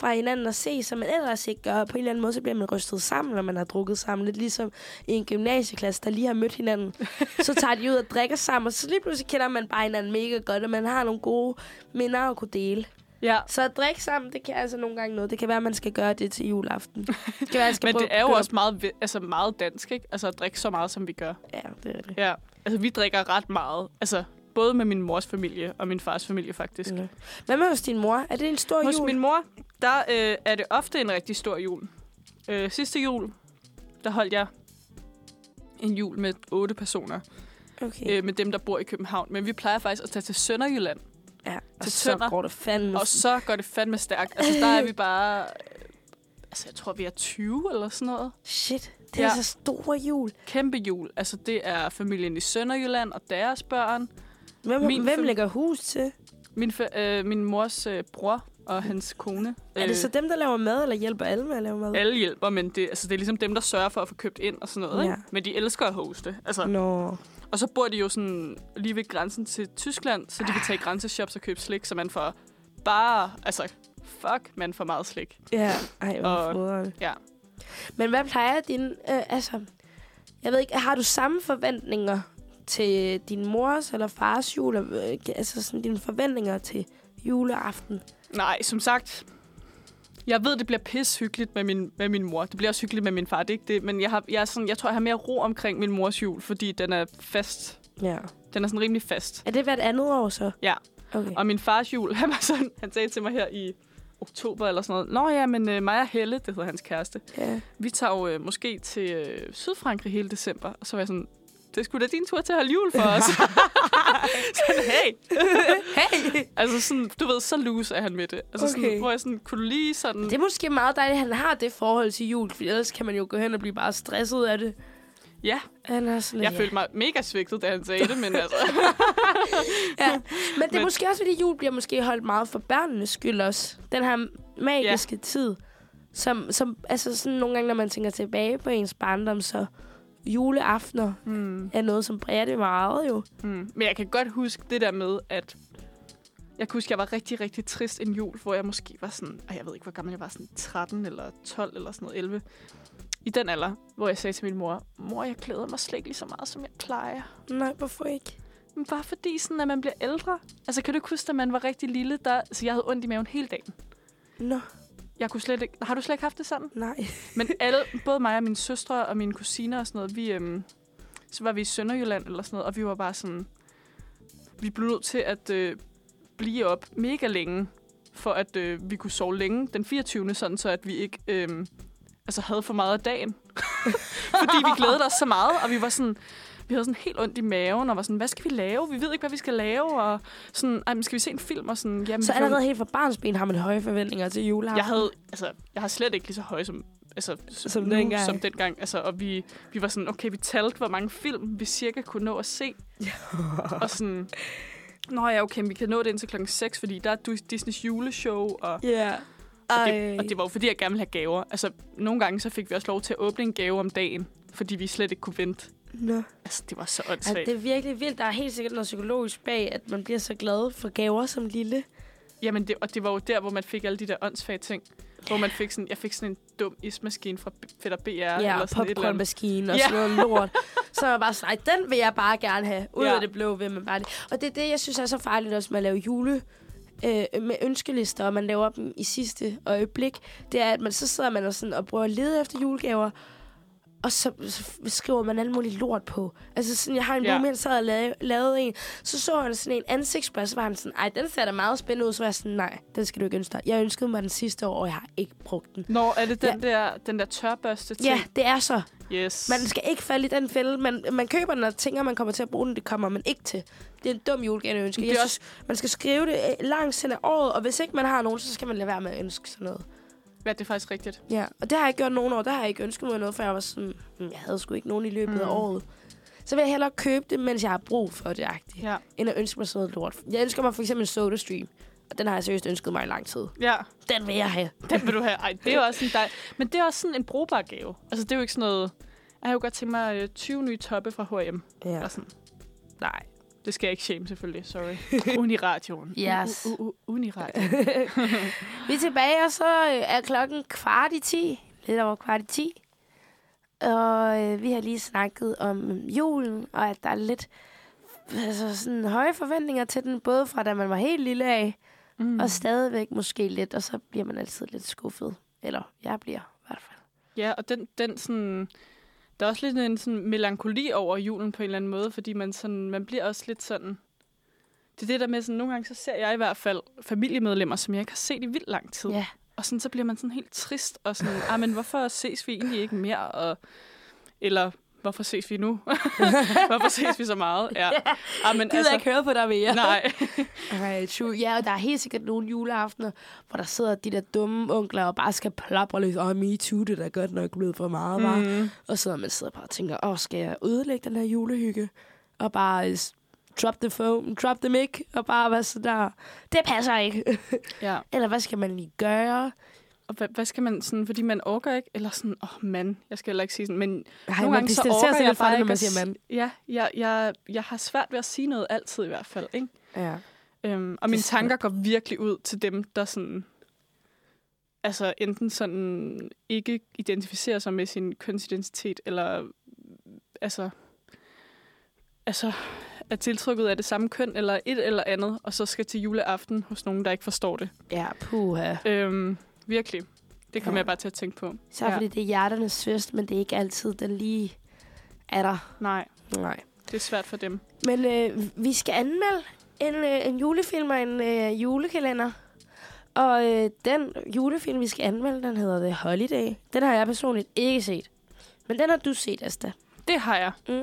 fra hinanden at se, som man ellers ikke gør. Og på en eller anden måde, så bliver man rystet sammen, når man har drukket sammen. Lidt ligesom i en gymnasieklasse, der lige har mødt hinanden. Så tager de ud og drikker sammen, og så lige pludselig kender man bare hinanden mega godt, og man har nogle gode minder at kunne dele.
Ja.
Så at drikke sammen, det kan altså nogle gange noget. Det kan være, at man skal gøre det til juleaften. Det kan være, at jeg skal
[laughs] Men
prøve
det er jo
at-
også meget, ve- altså meget dansk, ikke? Altså at drikke så meget, som vi gør.
Ja, det er det.
Ja. Altså, vi drikker ret meget. Altså, både med min mors familie og min fars familie, faktisk.
Ja. Hvad med hos din mor? Er det en stor
Hos
jul?
min mor, der øh, er det ofte en rigtig stor jul. Øh, sidste jul, der holdt jeg en jul med otte personer.
Okay.
Øh, med dem, der bor i København. Men vi plejer faktisk at tage til Sønderjylland.
ja. Og
til
så
tønder.
går det fandme.
Og så går det fandme stærkt. Altså, der
[laughs]
er vi bare... øh, Altså, jeg tror, vi er 20 eller sådan noget.
Shit, det
Ja.
er ja. altså stor jul.
Kæmpe jul. Altså, det er familien i Sønderjylland og deres børn.
Hvem,
Min
min hvem
fam-
lægger hus til?
Min, fa- øh, min mors øh, bror og hans kone. øh,
Er det så dem, der laver mad, eller hjælper alle med at lave mad?
alle hjælper, men det, altså, det er ligesom dem, der sørger for at få købt ind og sådan noget.
Ja.
Ikke? Men de elsker at hoste. Altså,
Nå.
Og så bor de jo sådan lige ved grænsen til Tyskland, så de kan tage i grænseshops og købe slik, så man får bare... Altså, fuck, man får meget slik.
Ja, ej, hvor
Og-
og...
ja.
Men hvad plejer din... Øh, altså, jeg ved ikke, har du samme forventninger til din mors eller fars jul? og, Øh, altså sådan dine forventninger til juleaften?
Nej, som sagt, jeg ved, det bliver pishyggeligt med min, med min mor. Det bliver også hyggeligt med min far, det er ikke det. Men jeg, har, jeg, er sådan, jeg tror, jeg har mere ro omkring min mors jul, fordi den er fast.
Ja.
Den er sådan rimelig fast.
Er det hvert andet år så?
Ja.
Okay.
Og min fars jul, [laughs] han, var sådan, han sagde til mig her i oktober eller sådan noget. Nå ja, men øh, mig og Helle, det hedder hans kæreste,
Ja.
vi tager jo øh, måske til øh, Sydfrankrig hele december. Og så var jeg sådan, det skulle da din tur til at holde jul for
[laughs]
os. sådan, hey.
Hey!
Altså sådan, du ved, så loose er han med det. Altså okay. sådan,
Okay.
hvor jeg sådan, kunne du lige sådan...
Det er måske meget dejligt, at han har det forhold til jul, for ellers kan man jo gå hen og blive bare stresset af det.
Ja,
Han er sådan,
jeg
ja.
følte mig mega svigtet, da han sagde det, men
[laughs]
altså...
Ja. [laughs] Men det er
Men-
måske også, fordi jul bliver måske holdt meget for børnenes skyld også. Den her magiske ja. tid, som, som altså sådan nogle gange, når man tænker tilbage på ens barndom, så juleaftener
mm,
er noget, som præger det meget jo.
mm. Men jeg kan godt huske det der med, at... Jeg kan huske, jeg var rigtig, rigtig trist en jul, hvor jeg måske var sådan... Og jeg ved ikke, hvor gammel jeg var, sådan 13 eller 12 eller sådan noget, 11. I den alder, hvor jeg sagde til min mor, mor, jeg glæder mig slet ikke lige så meget, som jeg plejer.
Nej, hvorfor ikke?
Men bare fordi, sådan, at man bliver ældre. Altså, kan du ikke huske, da man var rigtig lille, der... Så jeg havde ondt i maven hele dagen.
Nå,
Jeg kunne slet ikke... Har du slet ikke haft det sådan?
nej.
Men alle, både mig og mine søstre og mine kusiner og sådan noget, vi, øhm, så var vi i Sønderjylland eller sådan noget, og vi var bare sådan, vi blev nødt til at øh, blive op mega længe, for at øh, vi kunne sove længe den 24. sådan så at vi ikke øhm, altså havde for meget af dagen. [laughs] Fordi vi glædede os så meget, og vi var sådan, vi havde sådan helt ondt i maven, og var sådan, hvad skal vi lave? Vi ved ikke, hvad vi skal lave, og sådan, "Ej, men skal vi se en film? Og sådan, jamen,
Så
vi kan jo-
allerede helt fra barnsben har man høje forventninger til juleaften.
jeg havde, altså, jeg har slet ikke lige så høje som, altså, som,
Som
nu,
dengang.
Som dengang. Altså, og vi, vi var sådan, okay, vi talte, hvor mange film vi cirka kunne nå at
[laughs]
se. og sådan, nå ja, okay, vi kan nå det indtil klokken 6, fordi der er Dus- Disneys juleshow, og,
Ja.
og,
Ej.
det, og det var jo fordi, jeg gerne ville have gaver. Altså, nogle gange så fik vi også lov til at åbne en gave om dagen, fordi vi slet ikke kunne vente.
Nå.
Altså, det var så
Altså,
åndssvagt.
det er virkelig vildt. Der er helt sikkert noget psykologisk bag, at man bliver så glad for gaver som lille.
Jamen, det, og det var jo der, hvor man fik alle de der åndssvage ting. Hvor man fik sådan, jeg fik sådan en dum ismaskine fra B- Fætter BR.
Ja,
eller sådan
og
et eller andet.
popcornmaskine og
Ja.
sådan noget lort. Så er man bare sådan, "Ej, den vil jeg bare gerne have. Ud
Ja.
af det blå vil man bare det. Og det er det, jeg synes er så farligt også med at lave jule øh, med ønskelister, og man laver dem i sidste øjeblik. Det er, at man så sidder man og, sådan, og prøver at lede efter julegaver, og så, så skriver man alt muligt lort på. Altså sådan, jeg har en
Ja.
ja. han sad og lavede, lavede en, så så han sådan en ansigtsblad, så var han sådan, ej, den ser da meget spændende ud, så var jeg sådan, nej, den skal du ikke ønske dig. Jeg ønskede mig den sidste år, og jeg har ikke brugt den.
Nå, er det den, ja. der, den der tørbørste ting?
Ja, det er så.
Yes.
Man skal ikke falde i den fælde. Man, man køber den og tænker, man kommer til at bruge den. Det kommer man ikke til. Det er en dum julegaveønske.
Det er
Jeg synes, man skal skrive det øh, langt hen ad året, og hvis ikke man har nogen, så skal man lade være med at ønske sådan noget.
Ja, det er faktisk rigtigt.
"Hmm, Ja, og det har jeg ikke gjort nogen år. Der har jeg ikke ønsket mig noget, for jeg var sådan, "Mm, jeg havde sgu ikke nogen i løbet af
Mm.
året. så vil jeg hellere købe det, mens jeg har brug for det, agtigt,
Ja.
end at ønske mig sådan noget lort. Jeg ønsker mig for eksempel en soda stream, og den har jeg seriøst ønsket mig i lang tid.
ja,
Den vil jeg have.
den vil du have. Ej, det er jo også en dej... Men det er også sådan en brugbar gave. Altså, det er jo ikke sådan noget... Jeg har jo godt tænkt mig øh, 20 nye toppe fra H&M.
Ja.
Ja. Sådan.
Nej.
Det skal jeg ikke shame, selvfølgelig. Sorry. Uniradioen.
Yes.
U- u- u- Uniradioen.
Vi er tilbage, og så øh, er klokken kvart i ti. Lidt over kvart i ti. Og øh, vi har lige snakket om øh, julen, og at der er lidt altså, sådan, høje forventninger til den, både fra da man var helt lille af,
Mm.
mm. og stadigvæk måske lidt, og så bliver man altid lidt skuffet. Eller jeg bliver i hvert fald.
Ja, og den, den sådan... Der er også lidt en sådan melankoli over julen på en eller anden måde, fordi man, sådan, man bliver også lidt sådan... Det er det der med, sådan, nogle gange så ser jeg i hvert fald familiemedlemmer, som jeg ikke har set i vildt lang tid.
Ja.
Og sådan, så bliver man sådan helt trist og sådan, ah, men hvorfor ses vi egentlig ikke mere? Og, eller, hvorfor ses vi nu? [laughs] hvorfor ses vi så meget? Ja. Ah, men
Gider ikke høre på dig mere. [laughs]
nej.
Okay, Altså, true. Ja, og der er helt sikkert nogle juleaftener, hvor der sidder de der dumme onkler og bare skal plapre lidt. Åh, me too, det er da godt nok blevet for meget, var. Mm. Og så sidder man sidder bare og tænker, åh, skal jeg ødelægge den her julehygge? Og bare øh, s- drop the phone, drop the mic, og bare være sådan der, det passer ikke.
[laughs]
[laughs]
Ja.
Eller hvad skal man lige gøre?
Og hvad, hvad skal man sådan, fordi man orker ikke, eller sådan, åh oh, mand, jeg skal heller ikke sige sådan, men
Ej,
Nogle
man
gange så
distancerer sig
orker
lidt
jeg
fra
bare
det, når
ikke
man
at
siger
s-
mand.
Ja, jeg, jeg, jeg har svært ved at sige noget altid i hvert fald. Ikke?
Ja.
Øhm, og mine
svært.
tanker går virkelig ud til dem, der sådan, altså enten sådan ikke identificerer sig med sin kønsidentitet, eller altså, altså er tiltrykket af det samme køn, eller et eller andet, og så skal til juleaften hos nogen, der ikke forstår det.
Ja, puha.
Øhm, virkelig. Det kommer ja.
Ja.
jeg bare til at tænke på.
Så ja. fordi det er hjerternes fest, men det er ikke altid, den lige er der.
Nej,
Nej.
det er svært for dem.
Men øh, vi skal anmelde en, øh, en julefilm og en øh, julekalender. Og øh, den julefilm, vi skal anmelde, den hedder The Holiday. Den har jeg personligt ikke set. Men den har du set, Asta.
Det har jeg.
Mm-hmm.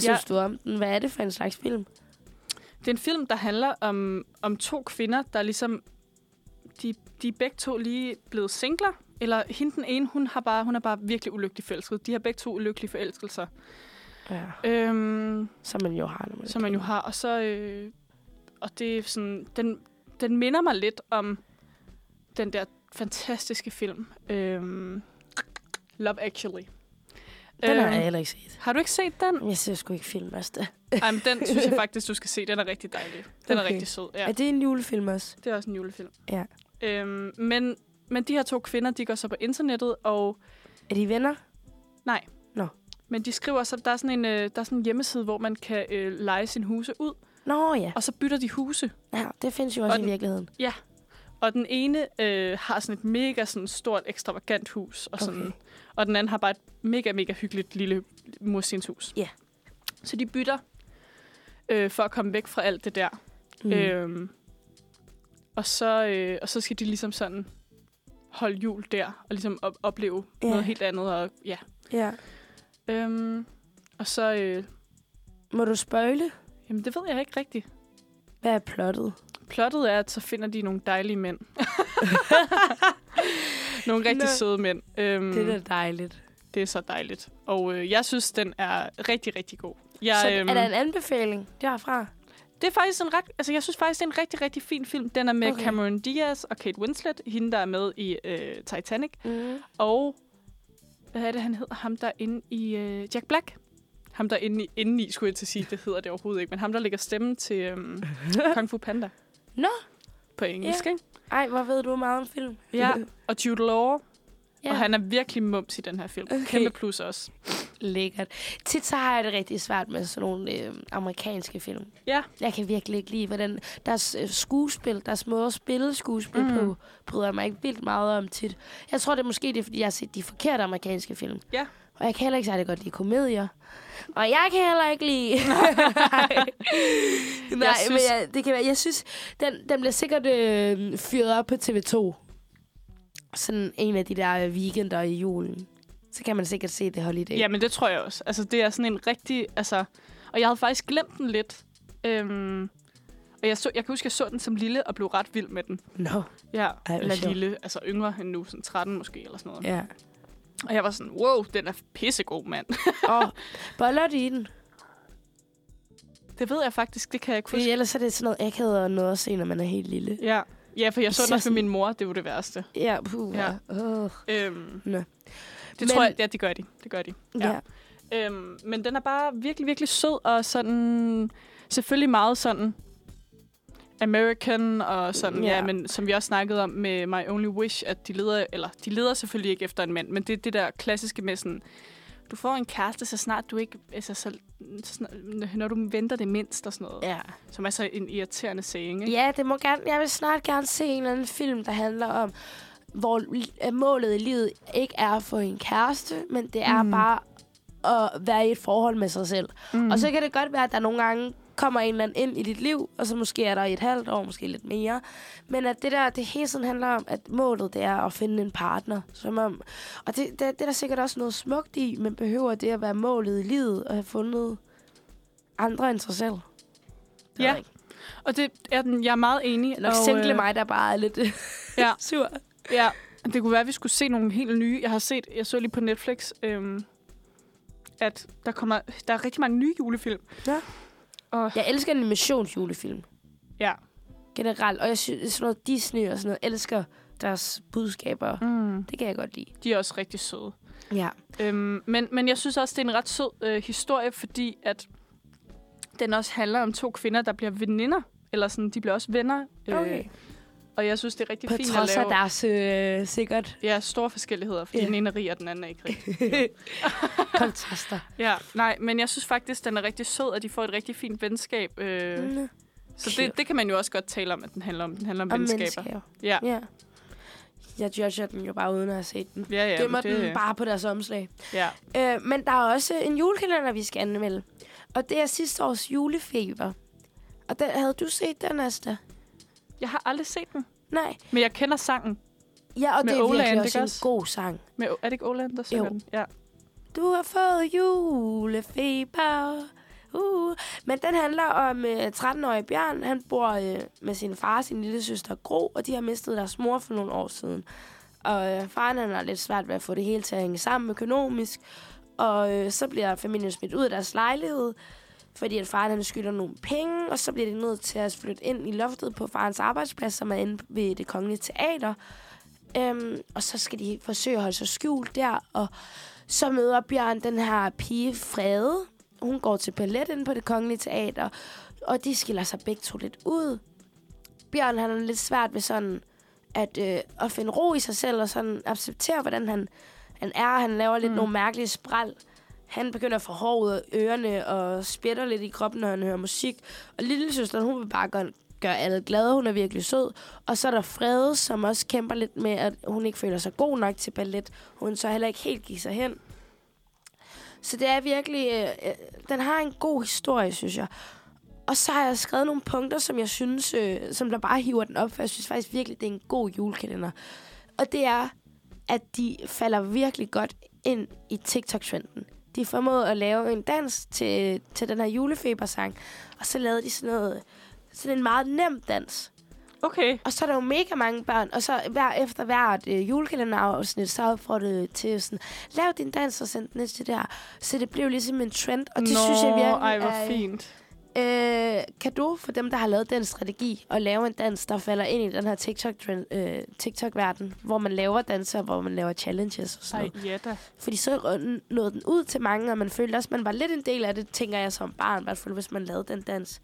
Ja.
synes du om den? Hvad er det for en slags film?
Det er en film, der handler om, om to kvinder, der ligesom... De, de er begge to lige blevet singler. Eller hende den ene, hun, har bare, hun er bare virkelig ulykkelig forelsket. De har begge to ulykkelige forelskelser.
Ja.
Øhm,
Som man jo har. når
som man jo har. Og så... Øh, og det er sådan... Den, den minder mig lidt om den der fantastiske film. Øhm, Love Actually.
Den har jeg
Øhm,
heller ikke set.
har du ikke set
[laughs]
den?
Jeg ser sgu ikke film, Asta.
Ej, men den synes jeg faktisk, du skal se. Den er rigtig dejlig. Den okay. er
Okay.
rigtig sød. Ja.
Ja. Er det en julefilm også?
Det er også en julefilm.
Ja.
Øhm, men, men de her to kvinder, de går så på internettet, og
Er de venner?
men de skriver så, der er sådan en, øh, der er sådan en hjemmeside, hvor man kan øh, lege sin huse ud,
Nå ja.
og så bytter de huse.
ja det findes jo også
Og
i
den-
virkeligheden.
Og den ene øh, har sådan et mega sådan stort, ekstravagant hus, og, sådan,
Okay.
okay. og den anden har bare et mega, mega hyggeligt lille murstenshus.
Ja.
Så de bytter øh, for at komme væk fra alt det der.
Mm.
Øhm, og, så, øh, og så skal de ligesom sådan holde jul der, og ligesom op- opleve
Ja.
yeah. noget helt andet. Og, ja.
Ja.
øhm, og så, øh,
Må du spøjle?
jamen det ved jeg ikke rigtigt.
Hvad er plottet?
Plottet er, at så finder de nogle dejlige
[laughs]
mænd. nogle rigtig
Nå.
Nå. søde mænd. Øhm,
Det er da dejligt.
det er så dejligt. Og øh, jeg synes, den er rigtig, rigtig god. Jeg, øhm,
Så er der en anbefaling derfra?
Det er faktisk en ret, altså jeg synes faktisk, det er en rigtig, rigtig fin film. Den er med
Okay.
okay. Cameron Diaz og Kate Winslet, hende der er med i øh, Titanic.
Mm.
Og hvad er det, han hedder? Ham, der er inde i... Øh, Jack Black. Ham, der er inde i, inde i, skulle jeg til at sige. Det hedder det overhovedet ikke. Men ham, der lægger stemmen til
[laughs]
øhm, Kung Fu Panda.
Nå.
På engelsk, yeah. ikke?
Ej, hvor ved du meget om film.
Ja. Og Jude Law.
[laughs] Ja.
Yeah. Og han er virkelig mums i den her film.
Okay.
Okay. Kæmpe plus også.
Lækkert. Tit så har jeg det rigtig svært med sådan nogle øh, amerikanske film.
Ja.
Jeg kan virkelig ikke lide, hvordan deres øh, skuespil, deres måde at spille skuespil mm.
Mm.
på, bryder jeg mig ikke vildt meget om tit. Jeg tror, det er måske det, er, fordi jeg har set de forkerte amerikanske film.
Ja.
Og jeg kan heller ikke særlig godt lide komedier. Og jeg kan heller ikke [laughs] lide... Nej, jeg synes... men
synes-
jeg, det kan være. Jeg synes, den, den bliver sikkert øh, fyret op på TV2. Sådan en af de der øh, weekender i julen. Så kan man sikkert se det holiday.
Yeah. Jamen, det tror jeg også. Altså, det er sådan en rigtig... Altså, og jeg havde faktisk glemt den lidt. Øhm, og jeg, så, jeg kan huske, jeg så den som lille og blev ret vild med den.
Nå. No.
Ja,
hvor
eller
sjovt.
lille. Altså yngre end nu, sådan 13 måske, eller sådan noget.
Ja.
Og jeg var sådan, wow, den er pissegod, mand.
Og boller de i den?
[laughs] Det ved jeg faktisk, det kan jeg ikke
Fordi
huske.
ellers er det sådan noget akavet og noget at se, når man er helt lille.
Ja. Ja, for jeg så den også
Især
med
sådan-
min mor, det var det værste.
Ja, puh.
Ja.
Ja. Uh,
Øhm,
Nå.
Det
Men-
tror jeg, ja, det gør de. Det gør de. Ja.
ja.
Øhm, men den er bare virkelig, virkelig sød og sådan... Selvfølgelig meget sådan American og sådan, ja. ja,
Ja.
men som vi også snakkede om med My Only Wish, at de leder, eller de leder selvfølgelig ikke efter en mand, men det er det der klassiske med sådan, du får en kæreste, så snart du ikke, altså, så, så snart, når du venter det mindst og sådan noget, ja.
ja.
som er så en irriterende saying, ikke?
Ja, det må gerne, jeg vil snart gerne se en eller anden film, der handler om, hvor li- at målet i livet ikke er at få en kæreste, men det er
Mm.
mm. bare at være i et forhold med sig selv.
Mm.
Mm. Og så kan det godt være, at der nogle gange kommer en eller anden ind i dit liv, og så måske er der i et halvt år, måske lidt mere. Men at det der, det hele tiden handler om, at målet det er at finde en partner. Som om, og det, det, det er der sikkert også noget smukt i, men behøver det at være målet i livet, og have fundet andre end sig selv? Det ved
Ja,
jeg ikke.
og det er den, jeg er meget enig.
Eller
og,
single
øh,
mig, der bare er [laughs] lidt
Ja.
sur.
Ja, det kunne være, at vi skulle se nogle helt nye. Jeg har set, jeg så lige på Netflix, øhm, at der kommer, der er rigtig mange nye julefilm.
Ja.
Og
Jeg elsker animationsjulefilm
ja.
generelt, og jeg synes, sådan noget Disney og sådan noget, elsker deres budskaber.
Mm.
Det kan jeg godt lide.
De er også rigtig søde.
Ja.
Øhm, men, men jeg synes også, det er en ret sød øh, historie, fordi at den også handler om to kvinder, der bliver veninder. Eller sådan, de bliver også venner. Øh,
Okay.
og jeg synes, det er rigtig
På
fint
Øh, trods
at
af
lave.
deres øh, [laughs] sikkert
Ja, store forskelligheder, fordi
Ja.
den ene er rig, og den anden er ikke rig.
kontraster.
Ja, nej, men jeg synes faktisk, den er rigtig sød, og de får et rigtig fint venskab. Øh,
Mm.
Så det,
Cute.
det kan man jo også godt tale om, at den handler om. Den handler om,
Og
om venskaber.
mennesker.
Ja,
Ja. Jeg judger den jo bare uden at have set den.
ja, ja.
Ja, Dømmer
men det,
den bare på deres omslag.
Ja.
Øh, men der er også en julekalender, vi skal anmelde. Og det er sidste års julefeber. Og den, havde du set den, Asta?
Jeg har aldrig set den,
Nej.
men jeg kender sangen.
Ja, og
Med
det er
Olaen,
virkelig
det
også
gør
en
også.
god sang.
Med, er det ikke Åland, der synger
Jo.
den? Ja.
Du har fået julefeber. Uh. Men den handler om øh, 13-årige Bjørn. Han bor øh, med sin far og sin lille søster Gro, og de har mistet deres mor for nogle år siden. Og øh, faren han har lidt svært ved at få det hele til at hænge sammen økonomisk. Og øh, så bliver familien smidt ud af deres lejlighed, fordi at faren han skylder nogle penge, og så bliver de nødt til at flytte ind i loftet på farens arbejdsplads, som er inde ved det kongelige teater. Øhm, og så skal de forsøge at holde sig skjult der, og så møder Bjørn den her pige Frede. Hun går til ballet inde på det kongelige teater, og de skiller sig begge to lidt ud. Bjørn han har lidt svært ved sådan at, øh, at finde ro i sig selv og sådan acceptere, hvordan han, han er. Han laver lidt mm. nogle mærkelige spral. Han begynder at få hår ud af ørerne og spjætter lidt i kroppen, når han hører musik. Og lillesøsteren, hun vil bare gøre, gøre alle glade. Hun er virkelig sød. Og så er der Frede, som også kæmper lidt med, at hun ikke føler sig god nok til ballet. Hun så heller ikke helt gik sig hen. Så det er virkelig... Øh, øh, den har en god historie, synes jeg. Og så har jeg skrevet nogle punkter, som jeg synes, øh, som der bare hiver den op, for jeg synes faktisk virkelig, det er en god julekalender. Og det er, at de falder virkelig godt ind i TikTok-trenden. De formåede at lave en dans til, til den her julefebersang, og så lavede de sådan noget, sådan en meget nem dans.
Okay.
Og så er der jo mega mange børn, og så hver, efter hvert øh, julekalenderafsnit, så får det til sådan, lav din dans og send den til der. Så det blev ligesom en trend, og det
Nå,
synes jeg virkelig
ej, hvor
er-
fint.
øh, kado for dem, der har lavet den strategi, at lave en dans, der falder ind i den her TikTok-verden, øh, TikTok hvor man laver danser, hvor man laver challenges og sådan
Ej,
noget.
ja da.
Fordi så rø- nåede den ud til mange, og man følte også, at man var lidt en del af det, tænker jeg som barn, i hvert fald hvis man lavede den dans.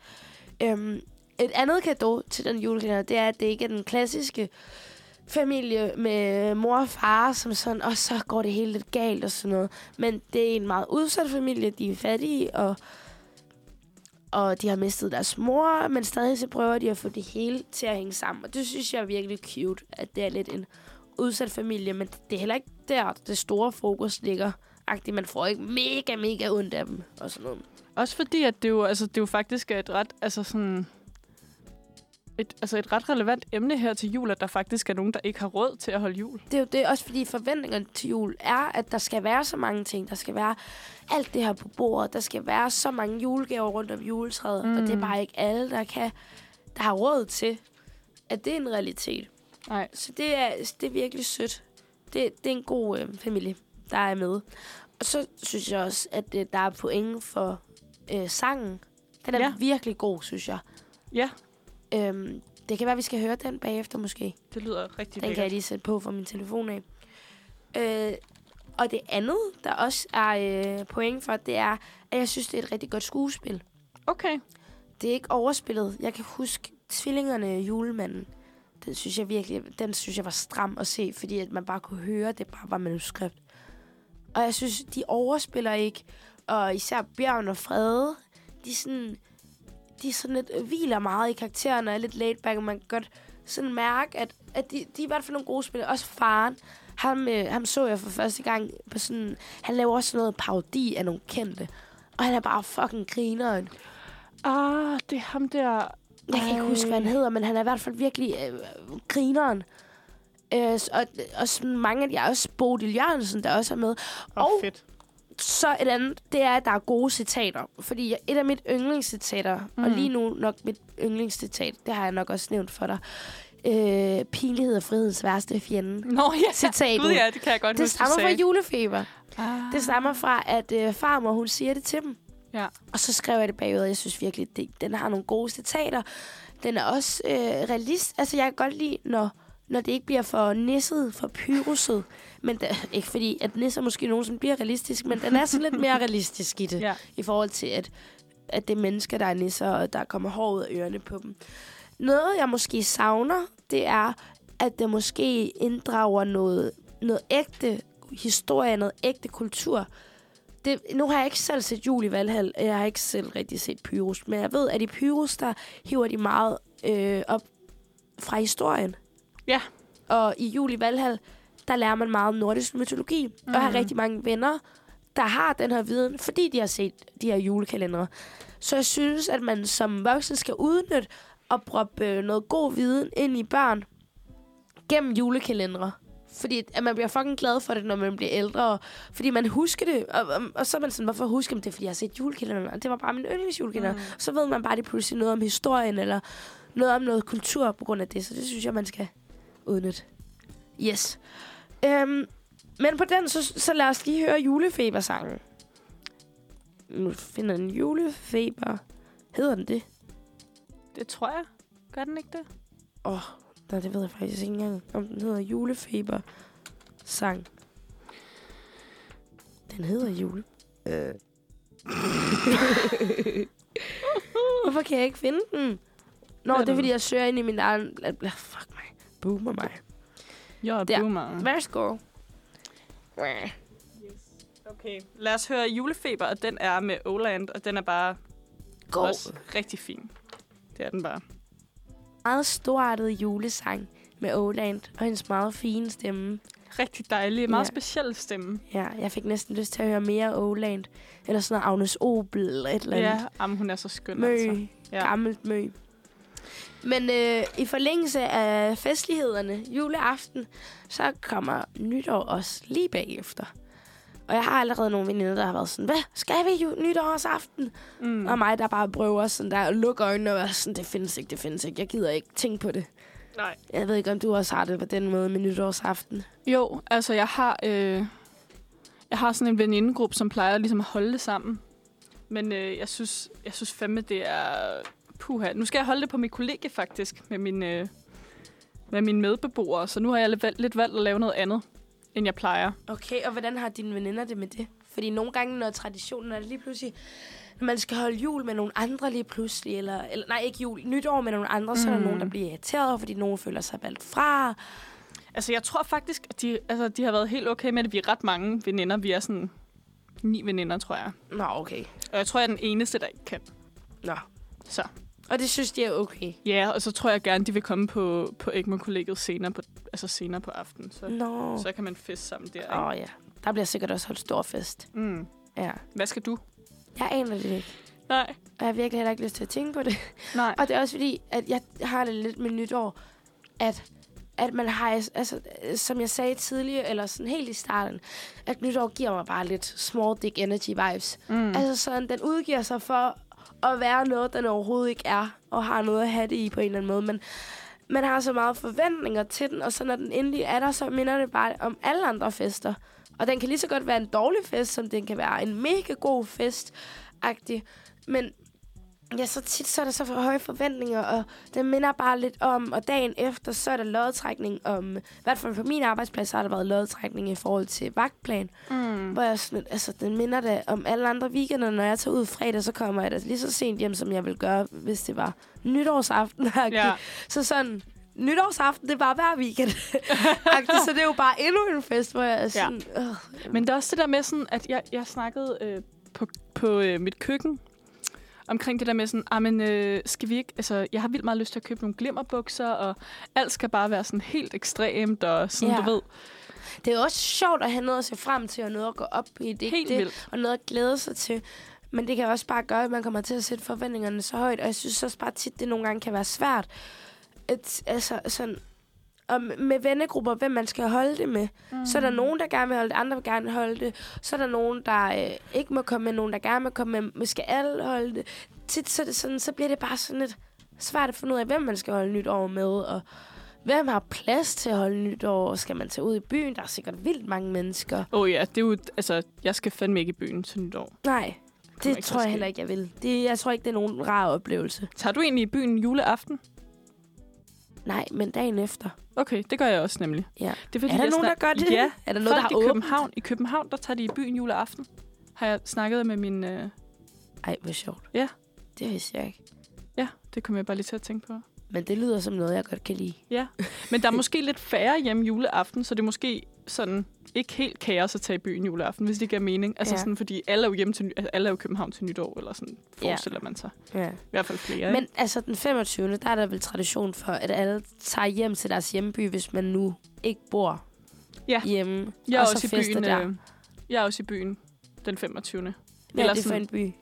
Øhm, et andet kado til den julekalender, det er, at det ikke er den klassiske familie med mor og far, som sådan, og så går det hele lidt galt og sådan noget. Men det er en meget udsat familie, de er fattige, og, og de har mistet deres mor, men stadig så prøver de at få det hele til at hænge sammen. Og det synes jeg er virkelig cute, at det er lidt en udsat familie, men det er heller ikke der, det store fokus ligger. Agtigt, man får ikke mega, mega ondt af dem og sådan noget.
Også fordi, at det jo, altså, det jo faktisk er et ret, altså sådan... Et, altså et ret relevant emne her til jul, at der faktisk er nogen, der ikke har råd til at holde jul.
det er jo det, også fordi forventningerne til jul er, at der skal være så mange ting. Der skal være alt det her på bordet. Der skal være så mange julegaver rundt om juletræet. Mm. Og det er bare ikke alle, der kan der har råd til, at det er en realitet.
Nej.
Så det er, det er virkelig sødt. Det, det er en god øh, familie. der er med. Og så synes jeg også, at øh, der er point for øh, sangen. Den er
Ja.
ja. virkelig god, synes jeg.
Ja,
Øhm, det kan være, at vi skal høre den bagefter måske.
det lyder rigtig
Den kan jeg
lækkert.
lige sætte på fra min telefon af. Øh, og det andet, der også er øh, point for, det er, at jeg synes, det er et rigtig godt skuespil.
Okay.
Det er ikke overspillet. Jeg kan huske tvillingerne julemanden. Den synes jeg virkelig, den synes jeg var stram at se, fordi at man bare kunne høre, at det bare var manuskript. Og jeg synes, de overspiller ikke. Og især Bjørn og Frede, de er sådan, de er sådan lidt, øh, hviler meget i karakteren og er lidt laid back, og man kan godt sådan mærke, at, at de, de er i hvert fald nogle gode spillere. Også faren, ham, øh, ham så jeg for første gang på sådan, han laver også sådan noget parodi af nogle kendte. Og han er bare fucking grineren.
Ah, det er ham der...
Jeg kan ikke huske, hvad han hedder, men han er i hvert fald virkelig øh, grineren. Øh, s- og, og sådan mange af de er også Bodil Jørgensen, der også er med.
Åh,
Og-
oh, fedt.
Så et andet, det er, at der er gode citater. Fordi jeg- et af mit yndlingscitater, mm. og
Mhm.
lige nu nok mit yndlingscitat, det har jeg nok også nævnt for dig. Øh, pinlighed er frihedens værste fjende.
Nå, ja.
Citatet.
Gud, ja, det kan jeg godt
Det
huske, du
stammer fra
sagde.
julefeber.
Ah.
Det stammer fra, at øh, farmor, hun siger det til dem.
Ja.
Og så skrev jeg det bagud, og jeg synes virkelig, det, den har nogle gode citater. Den er også øh, realist. Altså, jeg kan godt lide, når, når det ikke bliver for nisset, for pyruset. Men det, ikke fordi, at nisser måske nogen, som bliver realistisk, men den er sådan lidt mere realistisk i det.
Ja.
I forhold til, at, at det er mennesker, der er nisser, og der kommer hår ud af ørerne på dem. Noget, jeg måske savner, det er, at det måske inddrager noget, noget ægte historie, noget ægte kultur. Det, nu har jeg ikke selv set jul i Valhall, og jeg har ikke selv rigtig set Pyrus, men jeg ved, at i Pyrus, der hiver de meget øh, op fra historien.
Ja.
Og i jul i Valhall, der lærer man meget om nordisk mytologi, mm. og har rigtig mange venner, der har den her viden, fordi de har set de her julekalendere. Så jeg synes, at man som voksen skal udnytte og proppe øh, noget god viden ind i børn gennem julekalendere. Fordi at man bliver fucking glad for det, når man bliver ældre. og- Fordi man husker det, og, og, og så er man sådan, hvorfor husker man det? Fordi jeg har set julekalenderen, og det var bare min yndlingsjulekalender. Mm. Så ved man bare lige pludselig noget om historien, eller noget om noget kultur på grund af det. Så det synes jeg, man skal udnytte. Yes. Øhm, men på den, så, så lad os lige høre julefebersangen. Nu finder den julefeber. Hedder den det?
Det tror jeg. Gør den ikke det?
Nej, det ved jeg faktisk ikke engang, om den hedder julefeber sang. Den hedder jule. Øh. [laughs] Hvorfor kan jeg ikke finde den? Nå, det er fordi, jeg søger ind i min egen... Ah, Fuck mig. Boomer mig.
Jo,
Der.
boomer.
Værsgo.
Okay, lad os høre julefeber, og den er med Oland, og den er bare
God.
også rigtig fin. Det er den bare.
Meget storartet julesang med Oland og hendes meget fine stemme.
Rigtig dejlig, meget
Ja.
speciel stemme.
Ja, jeg fik næsten lyst til at høre mere Oland. Eller sådan noget Agnes Obel eller et eller andet.
Ja, jamen, hun er så skøn.
Mø.
Altså.
Altså.
Ja.
Ja. Gammelt mø. Men øh, i forlængelse af festlighederne juleaften, så kommer nytår også lige bagefter. Og jeg har allerede nogle veninder, der har været sådan, hvad skal vi ju- nytårsaften?
Mm.
Mm. Og mig, der bare prøver sådan der, at lukke øjnene og være sådan, det findes ikke, det findes ikke, jeg gider ikke tænke på det.
Nej.
Jeg ved ikke, om du også har det på den måde med nytårsaften.
Jo, altså jeg har, øh, jeg har sådan en venindegruppe, som plejer ligesom at holde det sammen. Men øh, jeg, synes, jeg synes fandme, det er... Puha. Nu skal jeg holde det på mit kollega faktisk, med min, øh, med mine medbeboere. Så nu har jeg lidt valgt, lidt valgt at lave noget andet, end jeg plejer.
Okay, og hvordan har dine veninder det med det? Fordi nogle gange, når traditionen er det lige pludselig, når man skal holde jul med nogle andre lige pludselig, eller, eller nej, ikke jul, nytår med nogle andre, mm. så er der
Mm.
nogen, der bliver irriteret, fordi nogen føler sig valgt fra.
Altså, jeg tror faktisk, at de, altså, de har været helt okay med det. Vi er ret mange veninder. Vi er sådan ni veninder, tror jeg.
Nå, okay.
Og jeg tror, jeg er den eneste, der ikke kan.
Nå.
Så
Og det synes de er okay.
ja, og så tror jeg gerne, de vil komme på, på Egmont-kollegiet senere på, altså senere på aftenen. Så,
Nå.
så kan man feste sammen der. Ikke?
Åh oh, ja, der bliver sikkert også holdt stor fest.
Mm.
Ja.
Hvad skal du?
Jeg aner det ikke,
Nej.
og jeg har virkelig heller ikke lyst til at tænke på det.
Nej.
Og det er også fordi, at jeg har det lidt med nytår, at, at man har, altså, øh, som jeg sagde tidligere, eller sådan helt i starten, at nytår giver mig bare lidt small dick energy vibes. Mm. Altså sådan, den udgiver sig for at være noget, den overhovedet ikke er, og har noget at have det i på en eller anden måde, men man har så meget forventninger til den, og så når den endelig er der, så minder det bare om alle andre fester. Og den kan lige så godt være en dårlig fest, som den kan være en mega god fest -agtig. Men ja, så tit så er der så for høje forventninger, og det minder bare lidt om, og dagen efter, så er der lodtrækning om, i hvert fald på min arbejdsplads, så har der været lodtrækning i forhold til vagtplan.
Mm.
Hvor jeg sådan, lidt, altså, den minder da om alle andre weekender, når jeg tager ud fredag, så kommer jeg da lige så sent hjem, som jeg ville gøre, hvis det var nytårsaften. [laughs]
Ja.
Ja. Så sådan, nytårsaften, det var hver weekend. Agtigt, så det er jo bare endnu en fest, hvor jeg er sådan, ja. øh,
Men det er også det der med, sådan, at jeg, jeg snakkede øh, på, på øh, mit køkken omkring det der med sådan, "Ah, men, øh, skal vi ikke, altså, jeg har vildt meget lyst til at købe nogle glimmerbukser, og alt skal bare være sådan helt ekstremt, og sådan,
Ja.
du ved,
det er jo også sjovt at have noget at se frem til, og noget at gå op i. Det er ikke
helt
det.
vildt.
og noget at glæde sig til. Men det kan også bare gøre, at man kommer til at sætte forventningerne så højt, og jeg synes også bare tit, det nogle gange kan være svært. Et, altså sådan, og med vennegrupper, hvem man skal holde det med. Mm. Så er der nogen, der gerne vil holde det, andre vil gerne holde det. Så er der nogen, der øh, ikke må komme med, nogen, der gerne må komme med, men skal alle holde det. Tit så, er det sådan, så bliver det bare sådan lidt svært at finde ud af, hvem man skal holde nytår med, og hvem har plads til at holde nytår, og skal man tage ud i byen? Der er sikkert vildt mange mennesker.
Åh oh, ja, det er jo, altså, jeg skal fandme ikke i byen til nytår.
Nej,
ikke
det
til
tror
at
jeg
ske.
heller ikke, jeg vil. Det, jeg tror ikke, det er nogen rar oplevelse.
Tager du egentlig i byen juleaften?
Nej, men dagen efter.
Okay, det gør jeg også nemlig.
Ja.
Det fordi,
er der
jeg
nogen, der
snak-
gør det?
Ja,
Er der
Folk
noget, der har
i
åbent?
København, i København, der tager de i byen juleaften. Har jeg snakket med min... Øh...
Ej, hvor sjovt.
Ja.
Det vidste jeg ikke.
Ja, det kom jeg bare lige til at tænke på.
Men det lyder som noget, jeg godt kan lide.
Ja, men der er måske lidt færre hjemme juleaften, så det er måske sådan ikke helt kaos at tage i byen juleaften, hvis det giver mening. Altså ja.
Ja.
sådan, fordi alle er jo hjemme til, ny- altså, alle er jo i København til nytår, eller sådan forestiller ja. man sig.
Ja.
I hvert fald flere, ikke?
Men altså, den 25. der er der vel tradition for, at alle tager hjem til deres hjemby, hvis man nu ikke bor
Ja.
hjemme.
Jeg er
og så
også i
fester
byen,
der.
øh, jeg er også i byen den 25. Eller
Hvad er det for
sådan-
en by?